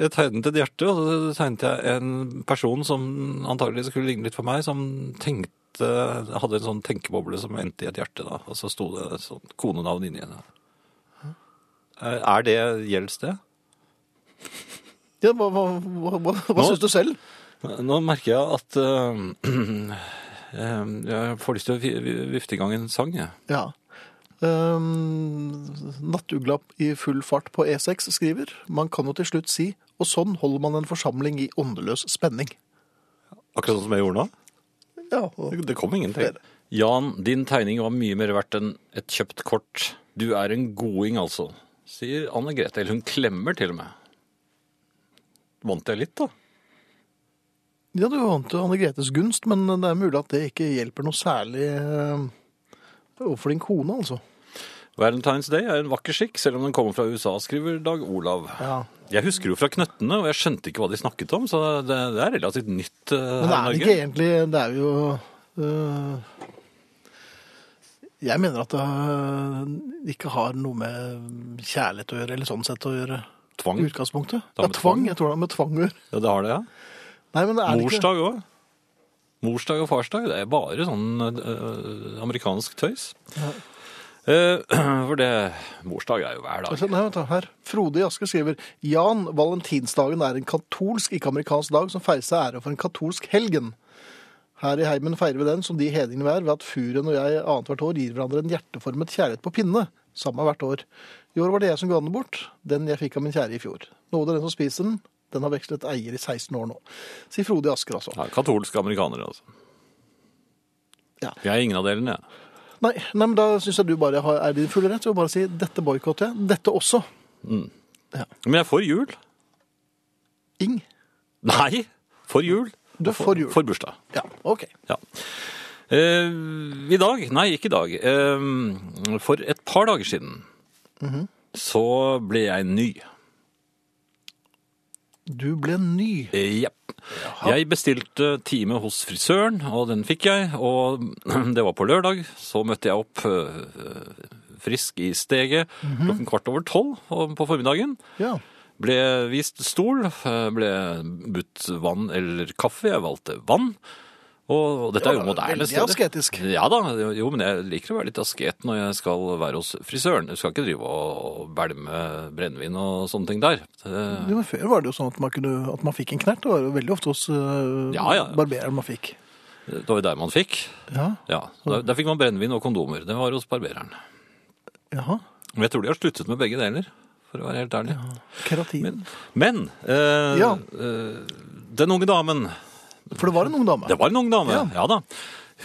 A: jeg tegnet et hjerte, og så tegnet jeg en person som antagelig skulle ligne litt på meg, som tenkte hadde en sånn tenkeboble som endte i et hjerte, da. Og så sto det et sånt konenavn inni henne. Eh, Er det gjelds det?
B: Ja, hva, hva, hva, hva, hva
A: Nå-
B: syns du selv?
A: Nå merker jeg at eh, eh, Jeg får lyst til å vi- vi- vifte i gang en sang, jeg.
B: Ja. Um, Nattugla i full fart på E6 skriver Man kan jo til slutt si Og sånn holder man en forsamling i åndeløs spenning.
A: Akkurat sånn som jeg gjorde nå.
B: Ja, og
A: Det kom ingenting. Jan, din tegning var mye mer verdt enn et kjøpt kort. Du er en goding, altså, sier Anne Grete. Eller hun klemmer til og med. Vant jeg litt, da?
B: Ja, du vant jo Anne Gretes gunst, men det er mulig at det ikke hjelper noe særlig eh, overfor din kone, altså.
A: Valentine's Day er en vakker skikk, selv om den kommer fra USA, skriver Dag Olav.
B: Ja.
A: Jeg husker jo fra Knøttene, og jeg skjønte ikke hva de snakket om, så det, det er relativt nytt eh,
B: Men det
A: her i
B: er det
A: Norge.
B: ikke egentlig Det er jo eh, Jeg mener at det eh, ikke har noe med kjærlighet å gjøre, eller sånn sett å gjøre. I
A: Tvang.
B: utgangspunktet.
A: har
B: Det
A: med
B: er tvang.
A: tvang.
B: Jeg tror det har med tvang å gjøre.
A: Ja, det har det, ja.
B: Nei, men det er det ikke.
A: Morsdag òg. Morsdag og farsdag, det er bare sånn eh, amerikansk tøys. Eh, for det Morsdag er jo hver dag.
B: Altså, Nei, vent da, her. Frode i Aske skriver Jan, valentinsdagen er en katolsk, ikke amerikansk dag, som feires til ære for en katolsk helgen. Her i heimen feirer vi den som de hedningene vi er, ved at furen og jeg annethvert år gir hverandre en hjerteformet kjærlighet på pinne. Samme hvert år. I år var det jeg som ga den bort, den jeg fikk av min kjære i fjor. Nåde den som spiser den, den har vekslet eier i 16 år nå. Sier Frode i Asker, altså.
A: Ja, katolske amerikanere, altså.
B: Ja.
A: Jeg er ingen av delene, jeg.
B: Nei, nei, men da syns jeg du bare har, er i din fulle rett til å bare si dette boikotter jeg, dette også.
A: Men jeg får jul.
B: Ing.
A: Nei, for jul.
B: Du er for jul.
A: For bursdag.
B: Ja, OK.
A: Ja. Eh, I dag, nei, ikke i dag. Eh, for et par dager siden
B: Mhm.
A: så ble jeg ny.
B: Du ble ny.
A: Eh, Jepp. Jeg bestilte time hos frisøren, og den fikk jeg. Og det var på lørdag. Så møtte jeg opp eh, frisk i steget
B: Mhm.
A: klokken kvart over tolv om- på formiddagen.
B: Ja.
A: Ble vist stol, eh, ble budt vann eller kaffe. Jeg valgte vann. Og dette er jo
B: Ja,
A: moderne
B: veldig
A: steder.
B: asketisk.
A: Ja da, jo, men jeg liker å være litt asket når jeg skal være hos frisøren. Du skal ikke drive og bælme brennevin og sånne ting der. Eh,
B: Jo, men før var det jo sånn at man, kunne, at man fikk en knert. Det var jo veldig ofte hos øh,
A: Ja, ja, ja.
B: barbereren man fikk.
A: Det var jo der man fikk.
B: Ja,
A: Ja, der, der fikk man brennevin og kondomer. Det var hos barbereren.
B: jaha.
A: Men jeg tror de har sluttet med begge deler, for å være helt ærlig.
B: Keratin.
A: Men eh,
B: Ja.
A: eh, den unge damen
B: For det var en ung dame.
A: Det var en ung dame, ja,
B: Ja.
A: da.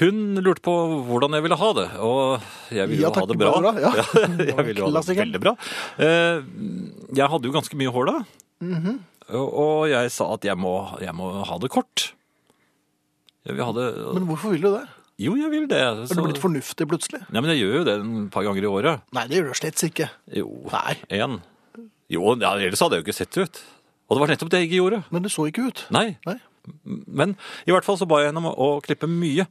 A: Hun lurte på hvordan jeg ville ha det, og jeg ville jo
B: Ja, takk,
A: ha det bra.
B: bra, bra, ja.
A: jeg ville jo ha det
B: Klassiker.
A: veldig bra. Eh, Jeg hadde jo ganske mye hår da,
B: Mhm.
A: og og jeg sa at jeg må, jeg må ha det kort. Jeg vil ha det
B: Men hvorfor vil du det?
A: Jo, jeg vil det. Så...
B: Er du blitt fornuftig plutselig?
A: Nei, men jeg gjør jo det en par ganger i året.
B: Nei, det gjør du slett ikke.
A: Jo,
B: Nei.
A: en. Jo, ja, ellers hadde jeg jo ikke sett ut. Og det var nettopp det jeg ikke gjorde.
B: Men det så ikke ut.
A: Nei,
B: Nei.
A: men i hvert fall så ba jeg henne om å klippe mye.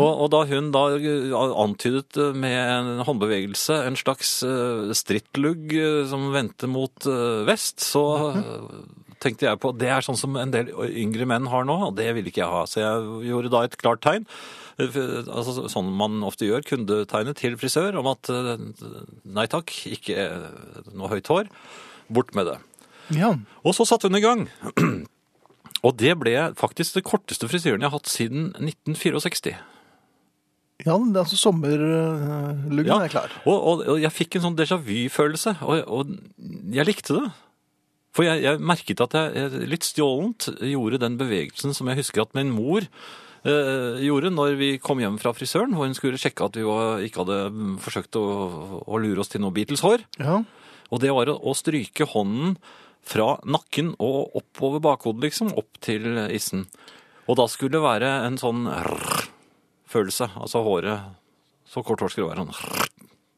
A: Og, og da hun da eh, antydet med en håndbevegelse en slags eh, strittlugg eh, som vendte mot eh, vest, så eh, tenkte jeg på det er sånn som en del yngre menn har nå, og det ville ikke jeg ha. Så jeg gjorde da et klart tegn, eh, f- altså sånn man ofte gjør, kundetegnet til frisør om at eh, nei takk, ikke eh, noe høyt hår, bort med det.
B: Ja.
A: Og så satte hun i gang. Og det ble faktisk det korteste frisyren jeg har hatt siden 1964.
B: Ja, det er altså sommerluggen
A: Ja,
B: er klar.
A: Og, og, og jeg fikk en sånn déjà vu-følelse, og, og jeg likte det. For jeg, jeg merket at jeg, jeg litt stjålent gjorde den bevegelsen som jeg husker at min mor eh, gjorde når vi kom hjem fra frisøren, hvor hun skulle sjekke at vi var, ikke hadde mm, forsøkt å, å lure oss til noe Beatles-hår.
B: Ja.
A: Og det var å, å stryke hånden fra nakken og oppover bakhodet, liksom, opp til issen. Og da skulle det være en sånn rrr følelse, altså håret Så kort hår skulle det være sånn rrr.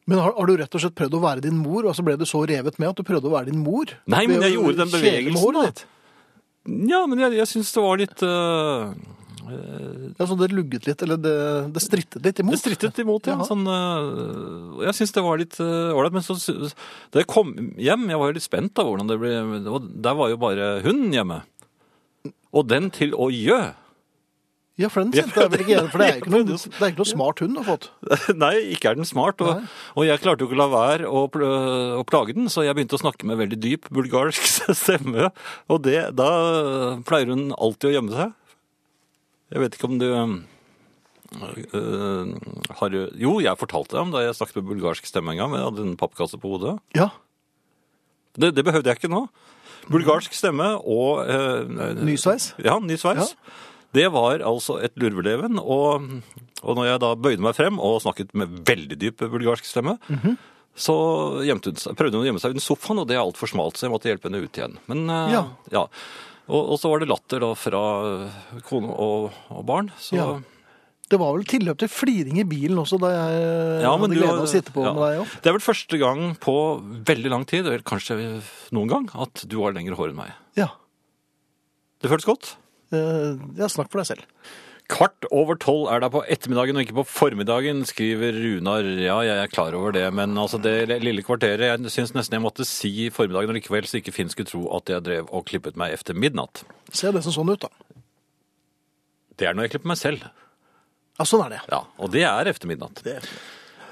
B: Men har, har du rett og slett prøvd å være din mor, og så ble du så revet med at du prøvde å være din mor?
A: Nei, men
B: Ved
A: jeg
B: å
A: gjorde den
B: kjele med
A: bevegelsen,
B: håret
A: da.
B: ditt.
A: Ja, men jeg, jeg syns det var litt øh,
B: Ja, så det lugget litt, eller det, det strittet litt imot?
A: Det strittet imot, ja.
B: Jaha.
A: Sånn, øh, jeg syns det var litt øh, ålreit. men så sy- da jeg kom hjem Jeg var jo litt spent, da, hvordan det ble og Der var jo bare hun hjemme. Og den til å gjø.
B: Ja, for den kjente jeg vel ikke igjen, for det er ikke noe, det er ikke noe smart hund å få.
A: Nei, ikke er den smart. Og, og jeg klarte jo ikke å la være å, pl å plage den, så jeg begynte å snakke med veldig dyp bulgarsk stemme. Og det, da pleier hun alltid å gjemme seg. Jeg vet ikke om du um, øh, har du- Jo, jeg fortalte deg om da jeg snakket med bulgarsk stemme en gang. men Jeg hadde en pappkasse på hodet.
B: Ja,
A: Det, det behøvde jeg ikke nå. Bulgarsk stemme og øh,
B: nysveis.
A: ja, ny sveis. Det var altså et lurveleven, og, og når jeg da bøyde meg frem og snakket med veldig dyp bulgarsk stemme,
B: Mhm.
A: så gjemte hun seg, prøvde hun å gjemme seg under sofaen, og det er altfor smalt, så jeg måtte hjelpe henne ut igjen. Men eh, ja.
B: Ja.
A: Og, og så var det latter da fra eh, kone og, og barn, så
B: Ja. Det var vel tilløp til fliring i bilen også, da jeg
A: Ja, men
B: hadde
A: du
B: glede
A: har-
B: av å sitte på
A: ja.
B: med deg opp.
A: Det er vel første gang på veldig lang tid, eller kanskje noen gang, at du har lengre hår enn meg.
B: Ja.
A: Det føles godt.
B: Eh, ja, snakk for deg selv.
A: Kvart over tolv er da på ettermiddagen og ikke på formiddagen, skriver Runar. Ja, jeg er klar over det, men altså det lille kvarteret Jeg syns nesten jeg måtte si formiddagen likevel, så ikke Finn skulle tro at jeg drev og klippet meg efter midnatt.
B: Ser nesten sånn ut, da.
A: Det er når jeg klipper meg selv.
B: Ja, sånn er det.
A: Ja, Og det er efter midnatt.
B: Det-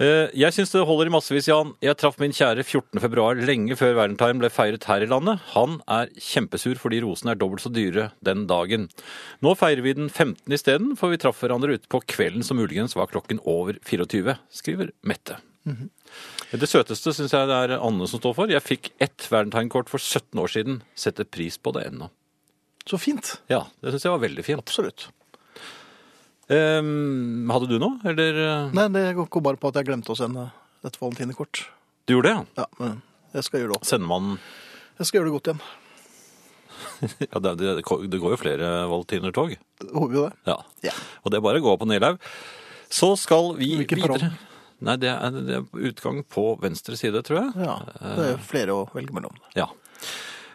A: Eh, Jeg syns det holder i massevis, Jan. Jeg traff min kjære 14. februar lenge før Valentine ble feiret her i landet. Han er kjempesur fordi rosene er dobbelt så dyre den dagen. Nå feirer vi den 15. isteden, for vi traff hverandre ute på kvelden som muligens var klokken over 24, skriver Mette. Det søteste syns jeg det er Anne som står for. Jeg fikk ett Valentine-kort for 17 år siden. Setter pris på det ennå.
B: Så fint.
A: Ja, det syns jeg var veldig fint.
B: Absolutt.
A: Eh, hadde du noe, eller? eh?
B: Nei, det går bare på at jeg glemte å sende et valentinekort.
A: Du gjorde det, ja?
B: Ja, men jeg skal gjøre det opp.
A: Sender man
B: Jeg skal gjøre det godt igjen.
A: Ja, det, det, det går jo flere valentinertog.
B: Jeg Håper jo det.
A: Ja.
B: Ja.
A: Og det er bare å gå opp på Nelhaug. Så skal vi
B: Hvilken
A: videre.
B: perrong?
A: Nei, det er, det er utgang på venstre side, tror jeg.
B: Ja, det er jo flere å velge mellom.
A: Ja.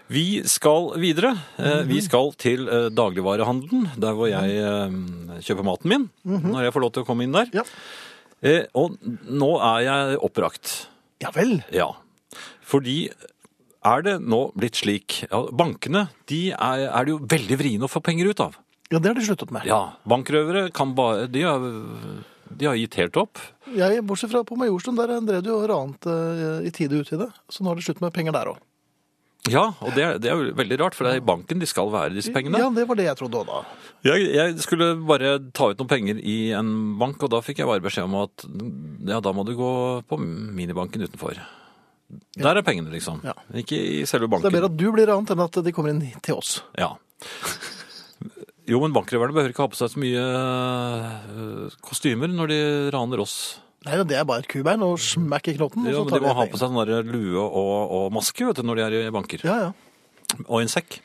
A: Vi skal videre. Eh,
B: Mhm.
A: Vi skal til eh, dagligvarehandelen, der hvor jeg eh, kjøper maten min. Når jeg får lov til å komme inn der.
B: Mhm. Ja.
A: Eh, Og nå er jeg oppbrakt.
B: Ja vel.
A: Ja, fordi er det nå blitt slik ja, Bankene de er, er det jo veldig vriene å få penger ut av.
B: Ja, det har de sluttet med.
A: Ja, bankrøvere kan bare De har, de har gitt helt opp.
B: Jeg, bortsett fra på Majorstuen, der drev du jo ranet eh, i tide og utide. Så nå har de slutt med penger der òg.
A: Ja, og det er, det er jo veldig rart, for det er i banken de skal være, disse pengene.
B: Ja, det var det jeg trodde òg da.
A: Jeg, jeg skulle bare ta ut noen penger i en bank, og da fikk jeg bare beskjed om at ja, da må du gå på minibanken utenfor. Der er pengene, liksom.
B: Ja.
A: Ikke i selve
B: Så
A: banken.
B: det er bedre at du blir ranet enn at de kommer inn til oss.
A: Ja. Jo, men bankrøverne behøver ikke ha på seg så mye øh, kostymer når de raner oss.
B: Nei, det er bare et kubein og smekk i knotten.
A: Ja,
B: og så
A: men
B: tar
A: de må ha
B: pengene.
A: på seg sånn der lue og, og maske vet du, når de er i banker.
B: Ja, ja.
A: Og en sekk.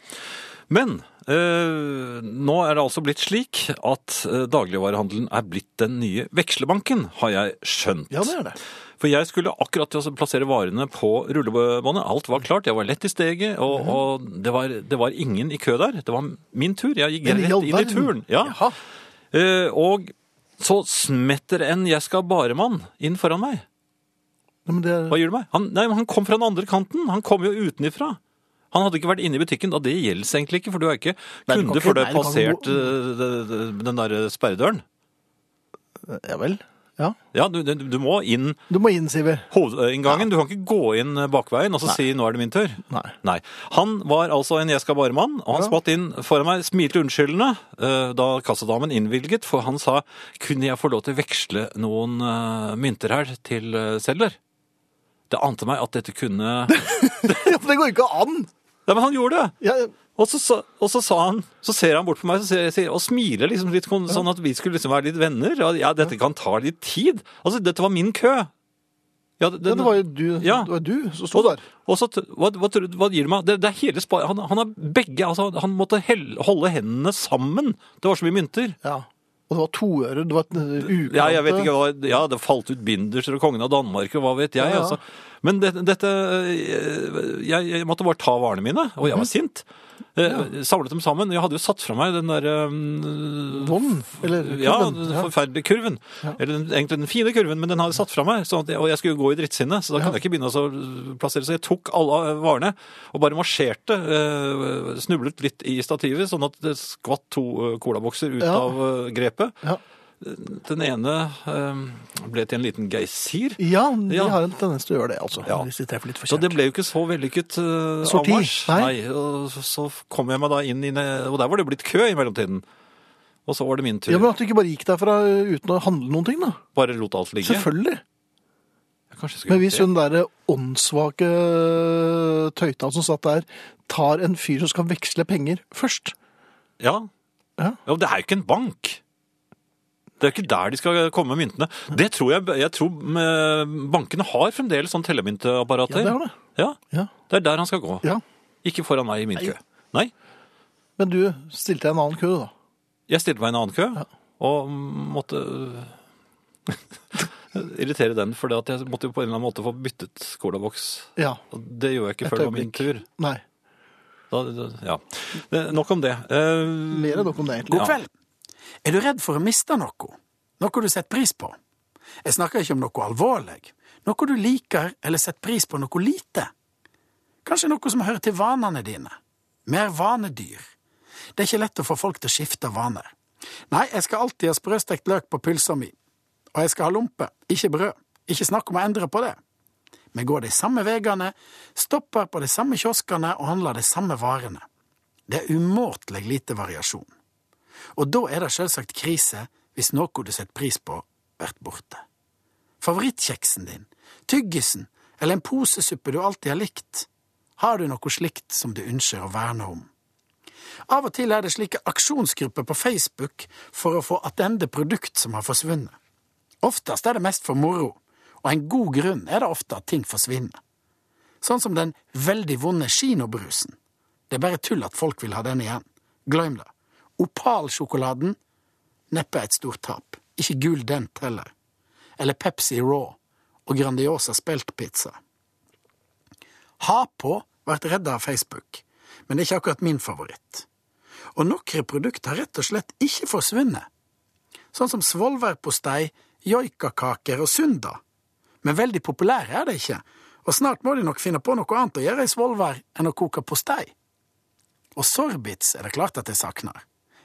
A: Men øh, nå er det altså blitt slik at øh, dagligvarehandelen er blitt den nye vekslebanken, har jeg skjønt.
B: Ja, det er det.
A: For jeg skulle akkurat til å plassere varene på rullebåndet. Alt var klart, jeg var lett i steget, og, og det, var, det var ingen i kø der. Det var min tur. Jeg gikk
B: Men i all
A: rett inn i
B: verden.
A: turen. Ja.
B: Jaha.
A: Eh, og så smetter en 'jeg skal bare-mann' inn foran meg.
B: Nei, Men det,
A: Hva gjør du meg? Han, nei, men han kom fra den andre kanten. Han kom jo utenifra. Han hadde ikke vært inne i butikken, og det gjelder seg egentlig ikke, for du er ikke
B: Nei, du kan
A: kunde
B: ikke-
A: før du
B: nei,
A: har
B: du kan ikke
A: passert eh, den der sperredøren.
B: ja vel. Ja.
A: Ja, du, du, du må inn
B: Du må inn, Siver.
A: hovedinngangen. Du kan ikke gå inn eh, bakveien og så si 'nå er det min tur'.
B: Nei.
A: Han var altså en 'jeg skal bare'-mann, og han spott inn foran meg, smilte unnskyldende eh, da kassadamen innvilget, for han sa 'kunne jeg få lov til å veksle noen eh, mynter her til eh, sedler'? Det ante meg at dette kunne Nei,
B: Ja, for det går ikke an!
A: men han gjorde det!
B: Ja,
A: Og så, sa- og så sa han, så ser han bort på meg så ser, ser, og smiler liksom litt kon- sånn at vi skulle liksom være litt venner. Ja, ja, dette kan ta litt tid. Altså, dette var min kø. Ja, det,
B: ja, det var jo du,
A: Ja.
B: det var du som sto
A: og,
B: der.
A: og så, t- hva, hva, tror du- hva gir det meg? Det, det er hele spa... Han, han har begge, altså, han måtte hell, holde hendene sammen. Det var så mye mynter.
B: Ja. Og det var toører, det var et eh, uklante.
A: Ja, jeg vet ikke hva, ja, det falt ut binderser og kongen av Danmark og hva vet jeg.
B: Ja, ja.
A: Altså. Men det, dette eh, jeg, jeg måtte bare ta varene mine, og jeg var sint. Eh, Samlet dem sammen. Jeg hadde jo satt fra meg den der eh,
B: Vogn, eller
A: ja,
B: klubben.
A: den forferdelige kurven. Eller den, egentlig den fine kurven, men den hadde jeg satt fra meg. Sånn at jeg, og jeg skulle jo gå i drittsinnet, så da kunne jeg ikke begynne å så plassere. Så jeg tok alle eh, varene og bare marsjerte. eh, snublet litt i stativet, sånn at det skvatt to eh, colabokser ut
B: Ja.
A: av eh, grepet.
B: Ja.
A: Den ene eh, ble til en liten geysir.
B: Ja, de
A: Ja.
B: har en tendens til å gjøre det, altså.
A: Ja.
B: Hvis de treffer litt for
A: Så det
B: kjært.
A: ble jo ikke så vellykket uh,
B: Sorti?
A: avmarsj.
B: Nei.
A: Nei. og så- så kom jeg meg da inn i ne- Og der var det jo blitt kø i mellomtiden. Og så var det min tur.
B: Ja, men at du ikke bare gikk derfra eh, uten å handle noen ting, da.
A: Bare lot alt ligge.
B: Selvfølgelig.
A: Jeg kanskje skulle
B: Men
A: gjort
B: hvis hun derre åndssvake eh, tøyta som satt der, tar en fyr som skal veksle penger først
A: Ja.
B: Ja.
A: men det er jo ikke en bank. Det er jo ikke der de skal komme med myntene. Det tror jeg, jeg tror mm, bankene har fremdeles sånn
B: Ja,
A: tellemyntapparater.
B: det har det.
A: Ja,
B: Ja.
A: det er der han skal gå.
B: ja.
A: Ikke foran meg i min
B: Nei.
A: kø. Nei,
B: Men du stilte deg en annen kø, du, da.
A: jeg stilte meg i en annen kø, og måtte øh, irritere den, for jeg måtte jo på en eller annen måte få byttet colaboks.
B: Ja.
A: Og det gjorde jeg ikke
B: Et
A: før det var min
B: øyeblikk.
A: tur.
B: Nei.
A: Da, da, ja. Eh, Nok om det. Eh,
B: Mer enn nok om det, egentlig.
A: Ja.
E: God kveld. Er du redd for å miste noe? Noe du setter pris på? Jeg snakker ikke om noe alvorlig. Noe du liker eller setter pris på noe lite. Kanskje noe som hører til vanene dine. Mer vanedyr. Det er ikke lett å få folk til å skifte vaner. Nei, jeg skal alltid ha sprøstekt løk på pølsa mi. Og jeg skal ha lompe, ikke brød. Ikke snakk om å endre på det. Vi går de samme veiene, stopper på de samme kioskene og handler de samme varene. Det er umåtelig lite variasjon. Og da er det selvsagt krise hvis noe du setter pris på, blir borte. Favorittkjeksen din, tyggisen eller en posesuppe du alltid har likt. Har du noe slikt som du ønsker å verne om? Av og til er det slike aksjonsgrupper på Facebook for å få attende produkt som har forsvunnet. Oftest er det mest for moro, og en god grunn er det ofte at ting forsvinner. Sånn som den veldig vonde kinobrusen. Det er bare tull at folk vil ha den igjen. Glem det. Opalsjokoladen neppe et stort tap. Ikke gul dent heller. Eller Pepsi Raw og Grandiosa speltpizza. Ha på vært redda av Facebook, men det er ikke akkurat min favoritt. Og noen produkter har rett og slett ikke forsvunnet. Sånn som svolværpostei, joikakaker og sunda. Men veldig populære er de ikke, og snart må de nok finne på noe annet å gjøre i svolvær enn å koke postei. Og sorbits er det klart at jeg savner.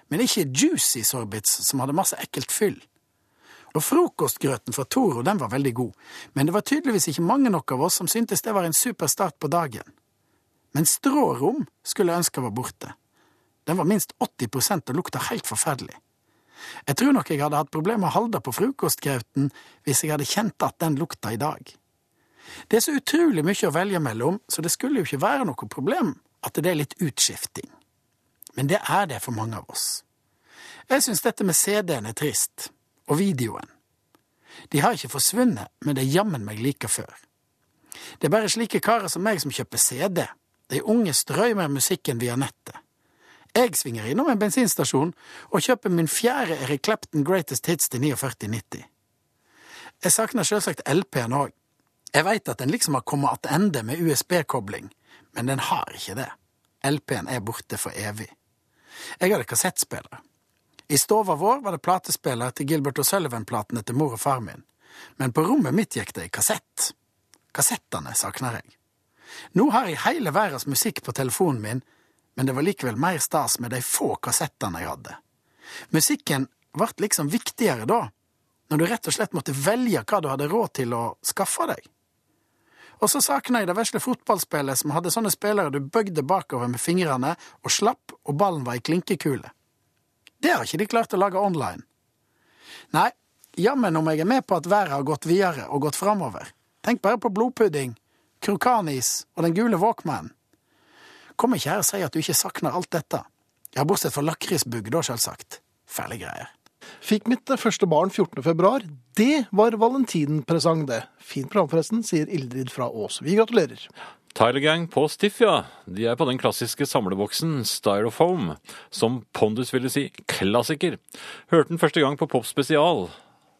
E: Men ikke juicy sorbits som hadde masse ekkelt fyll. Og frokostgrøten fra Toro den var veldig god, men det var tydeligvis ikke mange nok av oss som syntes det var en super start på dagen. Men strårom skulle jeg ønske var borte. Den var minst 80 og lukta helt forferdelig. Jeg tror nok jeg hadde hatt problemer med å holde på frokostgrauten hvis jeg hadde kjent at den lukta i dag. Det er så utrolig mye å velge mellom, så det skulle jo ikke være noe problem at det er litt utskifting. Men det er det for mange av oss. Jeg syns dette med CD-en er trist, og videoen. De har ikke forsvunnet, men det er jammen meg like før. Det er bare slike karer som meg som kjøper CD. De unge strømmer musikken via nettet. Jeg svinger innom en bensinstasjon og kjøper min fjerde Eric Clapton Greatest Hits til 49,90. Jeg savner selvsagt LP-en òg. Jeg veit at den liksom har kommet attende med USB-kobling, men den har ikke det. LP-en er borte for evig. Jeg hadde kassettspiller. I stova vår var det platespiller til Gilbert O'Sullivan-platene til mor og far min, men på rommet mitt gikk det i kassett. Kassettene savner jeg. Nå har jeg hele verdens musikk på telefonen min, men det var likevel mer stas med de få kassettene jeg hadde. Musikken ble liksom viktigere da, når du rett og slett måtte velge hva du hadde råd til å skaffe deg. Og så savna jeg det vesle fotballspillet som hadde sånne spillere du bøgde bakover med fingrene og slapp, og ballen var ei klinkekule. Det har ikke de klart å lage online. Nei, jammen om jeg er med på at været har gått videre og gått framover. Tenk bare på blodpudding, krokanis og den gule Walkman. Kom ikke her og si at du ikke savner alt dette. Ja, bortsett fra lakrisbugg, da, selvsagt. Fæle greier.
B: Fikk mitt eh, første barn 14. februar. Det var valentinpresang, det. Fint program, forresten, sier Ildrid fra Ås. Vi gratulerer.
A: Tyler Gang på Stiff, ja. De er på den klassiske samleboksen Styrofoam, som Pondus ville si klassiker. Hørte den første gang på Pop Spesial.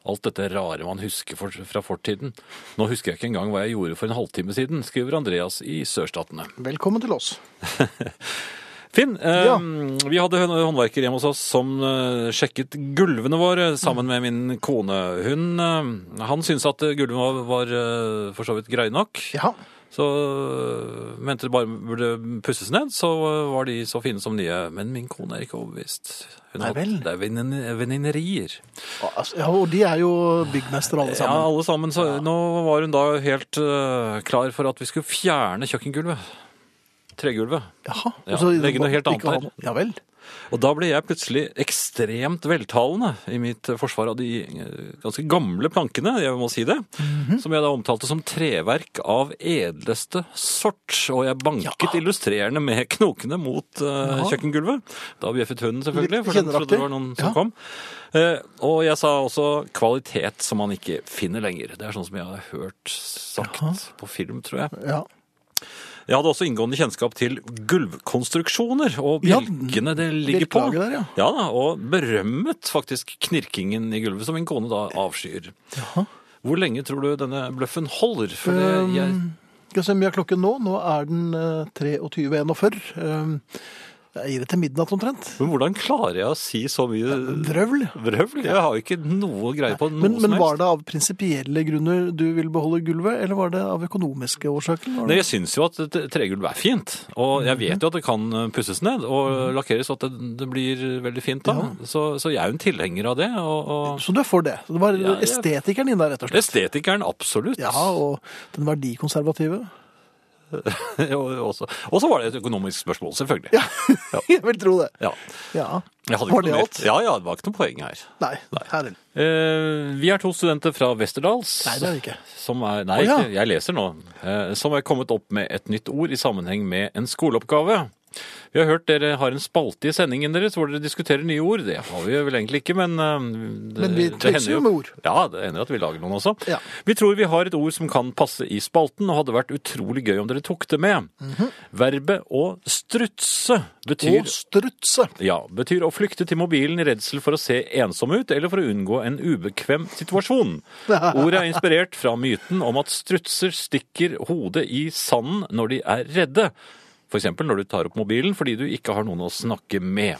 A: Alt dette rare man husker for, fra fortiden. Nå husker jeg ikke engang hva jeg gjorde for en halvtime siden, skriver Andreas i Sørstatene.
B: Velkommen til oss.
A: Finn, eh,
B: Ja.
A: vi hadde en håndverker hjemme hos oss som eh, sjekket gulvene våre sammen med min kone. Hun, eh, han syntes at eh, gulvene var, var eh, for så vidt greie nok.
B: Ja.
A: Så øh, mente det bare burde pusses ned, så øh, var de så fine som nye. Men min kone er ikke overbevist. Hun har
B: Nei vel.
A: hatt- Det er venin- venninnerier.
B: Altså, ja, og de er jo byggmestere alle
A: Ja,
B: sammen.
A: alle sammen. Så nå var hun da helt øh, klar for at vi skulle fjerne kjøkkengulvet. Tregulvet.
B: Jaha.
A: Ja,
B: Og så-
A: legge noe helt annet
B: ikke ha
A: her.
B: noe. Ja vel.
A: Og da ble jeg plutselig ekstremt veltalende i mitt øh, forsvar av de øh, ganske gamle plankene, jeg må si det,
B: Mhm.
A: som jeg da omtalte som treverk av edleste sort. Og jeg banket illustrerende med knokene mot øh, kjøkkengulvet. Da bjeffet hunden selvfølgelig,
B: Litt
A: for den trodde det
B: kjenneraktig.
A: var noen som
B: Ja.
A: kom. Eh, og jeg sa også kvalitet som man ikke finner lenger. Det er sånn som jeg har hørt sagt på film, tror jeg.
B: Ja.
A: Jeg hadde også inngående kjennskap til gulvkonstruksjoner og
B: Ja,
A: bjelkene det ligger på.
B: bjelkelaget der, ja.
A: da, Og berømmet faktisk knirkingen i gulvet, som min kone da avskyr. Hvor lenge tror du denne bløffen holder? For
B: Um,
A: det, jeg,
B: Ehm, Skal vi se hvor mye er klokken nå. Nå er den eh, 23.41. Um, Jeg gir det til midnatt omtrent.
A: men hvordan klarer jeg å si så mye
B: Vrøvl.
A: vrøvl? Jeg har jo ikke noe greie på noe
B: Men, men
A: som helst.
B: var det av prinsipielle grunner du ville beholde gulvet, eller var det av økonomiske årsaker?
A: Nei,
B: Var
A: jeg
B: det-
A: syns jo at t- tregulv er fint, og jeg vet jo at det kan eh, pusses ned
B: Mm.
A: og lakkeres, og at det, det blir veldig fint da. Så, så jeg er jo en tilhenger av det. Og, og...
B: Så du er for det. Det var
A: Ja, jeg-
B: estetikeren din der, rett og slett.
A: Estetikeren, absolutt.
B: Ja, og den verdikonservative.
A: Og og så og så var det et økonomisk spørsmål, selvfølgelig.
B: Jeg vil tro det.
A: Ja.
B: Ja.
A: Jeg hadde ikke
B: Var det
A: noe mer-
B: alt?
A: Ja, ja, det var ikke noe poeng her.
B: Nei,
A: Nei.
B: herregud.
A: Eh, vi er to studenter fra Westerdals.
B: Nei, det er det ikke.
A: Som er, nei,
B: Å, ja.
A: ikke- jeg leser nå. Eh, som er kommet opp med et nytt ord i sammenheng med en skoleoppgave. Vi har hørt dere har en spalte i sendingen deres hvor dere diskuterer nye ord. Det har vi vel egentlig ikke, men eh, det,
B: Men vi
A: det
B: tøyser
A: hender
B: jo med ord.
A: Ja, det hender at vi lager noen også.
B: Ja.
A: Vi tror vi har et ord som kan passe i spalten, og hadde vært utrolig gøy om dere tok det med.
B: Mhm.
A: Verbet å strutse betyr
B: Og strutse.
A: ja, betyr å flykte til mobilen i redsel for å se ensom ut, eller for å unngå en ubekvem situasjon. Ordet er inspirert fra myten om at strutser stikker hodet i sanden når de er redde. For eksempel når du tar opp mobilen fordi du ikke har noen å snakke med.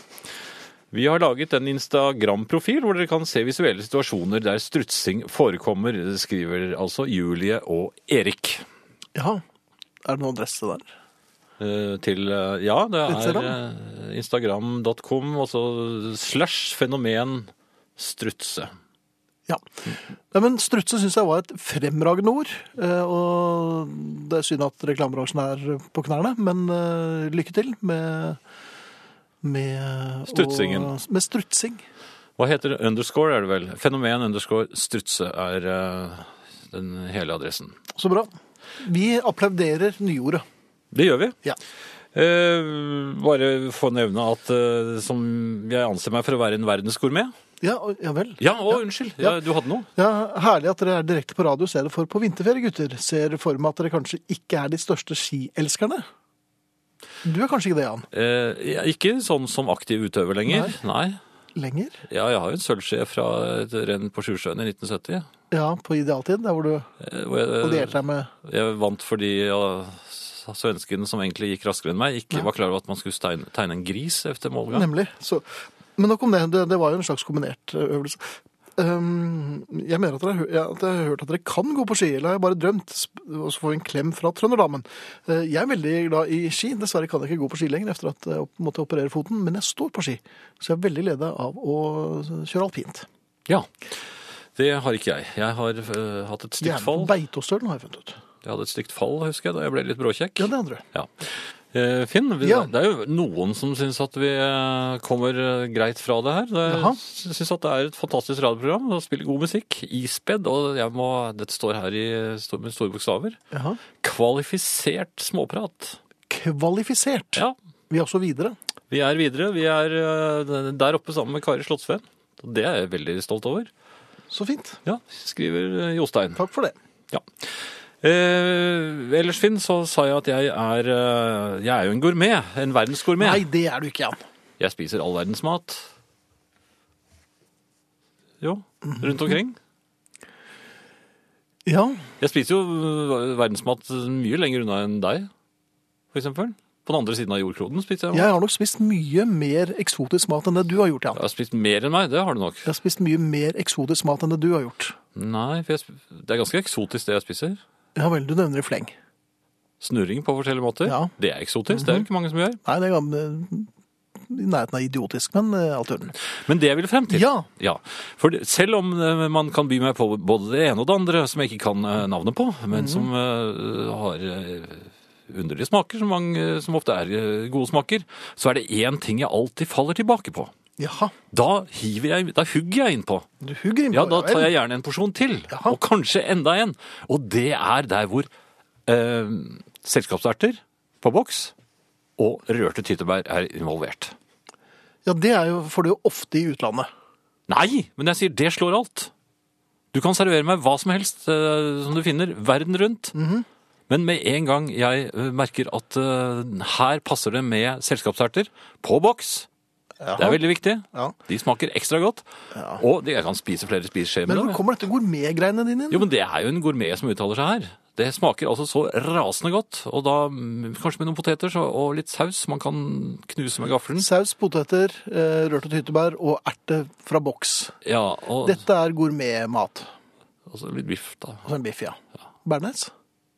A: Vi har laget en Instagram-profil hvor dere kan se visuelle situasjoner der strutsing forekommer, skriver altså Julie og Erik.
B: Ja. Er det noen adresse der?
A: Eh, Til, eh, ja, det er
B: Instagram?
A: eh, instagram.com, og så slash fenomen strutse.
B: Ja. Nei, men strutse syns jeg var et fremragende ord. eh, Og det er synd at reklamebransjen er på knærne, men eh, lykke til med med å-
A: Strutsingen.
B: Med strutsing.
A: Hva heter det? Underscore er det vel? Fenomen underscore strutse er eh, den hele adressen.
B: Så bra. Vi applauderer nyordet.
A: Det gjør vi.
B: Ja.
A: Eh, bare få nevne at eh, som jeg anser meg for å være en verdensgourmet.
B: Ja, og- ja vel.
A: Ja, å, unnskyld! Ja, du hadde noe?
B: Ja, Herlig at dere er direkte på radio i stedet for på vinterferie, gutter. Ser for meg at dere kanskje ikke er de største skielskerne? Du er kanskje ikke det, Jan?
A: Eh, jeg er ikke sånn som aktiv utøver lenger. Nei.
B: Lenger?
A: Ja, jeg har jo en sølvskje fra et renn på Sjusjøen i 1970.
B: Ja, på idealtid, der hvor du
A: eh, hvor jeg-
B: allierte deg med
A: Jeg vant fordi ja, svensken som egentlig gikk raskere enn meg, ikke var klar over at man skulle tegne, tegne en gris etter målgang.
B: Nemlig. Så, men nok om det. det. Det var jo en slags kombinert eh, øvelse. Ehm, jeg mener at, dere, har hø- ja, at jeg har hørt at dere kan gå på ski, eller har jeg bare drømt? Sp- Og så får vi en klem fra trønderdamen. Eh, jeg er veldig glad i ski. Dessverre kan jeg ikke gå på ski lenger etter at jeg opp- måtte operere foten, men jeg står på ski. Så jeg er veldig leda av å kjøre alpint.
A: Ja. Det har ikke jeg. Jeg har øh, hatt et stygt
B: Gjerne på
A: fall.
B: Beitostølen, har jeg funnet ut.
A: Jeg hadde et stygt fall, husker jeg, da jeg ble litt bråkjekk.
B: Ja, det andre.
A: Ja. Eh, Finn, vi,
B: Ja.
A: det er jo noen som syns at vi eh, kommer eh, greit fra det her.
B: Jaha.
A: Jeg syns at det er et fantastisk radioprogram og spiller god musikk. Isped, og jeg må, dette står her i, stor- med store bokstaver.
B: Jaha.
A: Kvalifisert småprat.
B: Kvalifisert.
A: Ja,
B: Vi er også videre.
A: vi er videre. Vi er eh, der oppe sammen med Kari Slottsveen. Det er jeg veldig stolt over.
B: Så fint.
A: Ja, skriver eh, Jostein.
B: Takk for det.
A: Ja. Eh, ellers, Finn, så sa jeg at jeg er, eh, jeg er jo en gourmet. En verdensgourmet.
B: Nei, det er du ikke, Jan.
A: Jeg spiser all verdens mat. Jo, rundt omkring.
B: Ja,
A: Jeg spiser jo øh, verdensmat mye lenger unna enn deg, for eksempel. På den andre siden av jordkloden spiser jeg.
B: jeg har nok spist mye mer eksotisk mat enn det du har gjort,
A: Jeg
B: Jan.
A: har spist mer enn meg, det har du nok.
B: Jeg har spist mye mer eksotisk mat enn det du har gjort.
A: Nei, for jeg, sp- det er ganske eksotisk det jeg spiser.
B: Ja vel, du nevner i fleng.
A: Snurring på forskjellige måter.
B: Ja. Mhm.
A: Det er eksotisk, det er det ikke mange som gjør.
B: Nei, det er gamle- i nærheten av idiotisk, men eh, alt i orden.
A: Men det jeg vil frem til
B: Ja.
A: For det- selv om eh, man kan by meg på både det ene og det andre som jeg ikke kan eh, navnet på,
B: Mhm.
A: men som eh, har eh, underlige smaker, som, mange, eh, som ofte er eh, gode smaker, så er det én ting jeg alltid faller tilbake på.
B: Jaha,
A: Da, hiver jeg, da hugger jeg innpå.
B: du hugger inn på
A: Ja, da
B: vel?
A: tar jeg gjerne en porsjon til.
B: Jaha.
A: Og kanskje enda en. Og det er der hvor eh, selskapsarter på boks og rørte tyttebær er involvert.
B: Ja, det er jo, får du jo ofte i utlandet.
A: Nei, men jeg sier det slår alt. Du kan servere meg hva som helst eh, som du finner, verden rundt.
B: Mhm.
A: Men med en gang jeg eh, merker at eh, her passer det med selskapsherter, på boks, det er veldig viktig.
B: Ja.
A: De smaker ekstra godt. Og de, jeg kan spise flere spiseskjeer med
B: Men hvor
A: det.
B: kommer dette gourmetgreiene dine inn?
A: Jo, men det er jo en gourmet som uttaler seg her. Det smaker altså så rasende godt, og da mm, kanskje med noen poteter så, og litt saus man kan knuse med gaffelen.
B: Saus, poteter, eh, rørte tyttebær og erte fra boks.
A: Ja, og
B: Dette er gourmetmat.
A: og så litt biff da.
B: Og så en biff, ja. Bernes?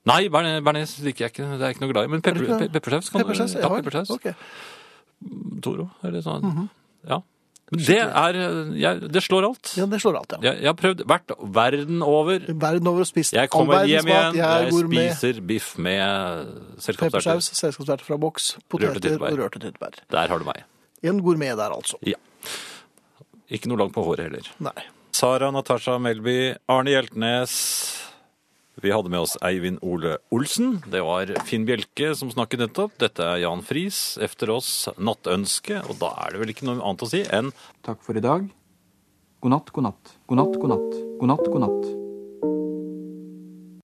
A: Nei, berne- bearnés liker jeg ikke. Det er jeg ikke noe glad i. Men pepper,
B: Er det ikke
A: pe
B: det?
A: peppersaus kan
B: Peppersaus?
A: du Ja, peppersaus.
B: Ok. Mhm.
A: Toro. Eller sånn. Ja. Men det er jeg, Det slår alt.
B: Ja, det slår alt, ja.
A: Jeg, jeg har prøvd hvert verden over.
B: Verden over og spist
A: Jeg kommer
B: all
A: hjem
B: verdensmat.
A: igjen,
B: Jeg er
A: jeg
B: gourmet.
A: spiser biff med selskapsherter.
B: Peppersaus, selskapsverte fra boks, poteter
A: tyttebær.
B: og rørte tyttebær.
A: Der har du meg.
B: En gourmet der, altså.
A: Ja. Ikke noe langt på håret heller.
B: Nei.
A: Sara Natasha Melby, Arne Hjeltnes. Vi hadde med oss Eivind Ole Olsen. Det var Finn Bjelke som snakket nettopp. Dette er Jan Friis. Efter oss Nattønske. Og da er det vel ikke noe annet å si enn
F: Takk for i dag. God natt, god natt. God natt, god natt. God natt, god natt.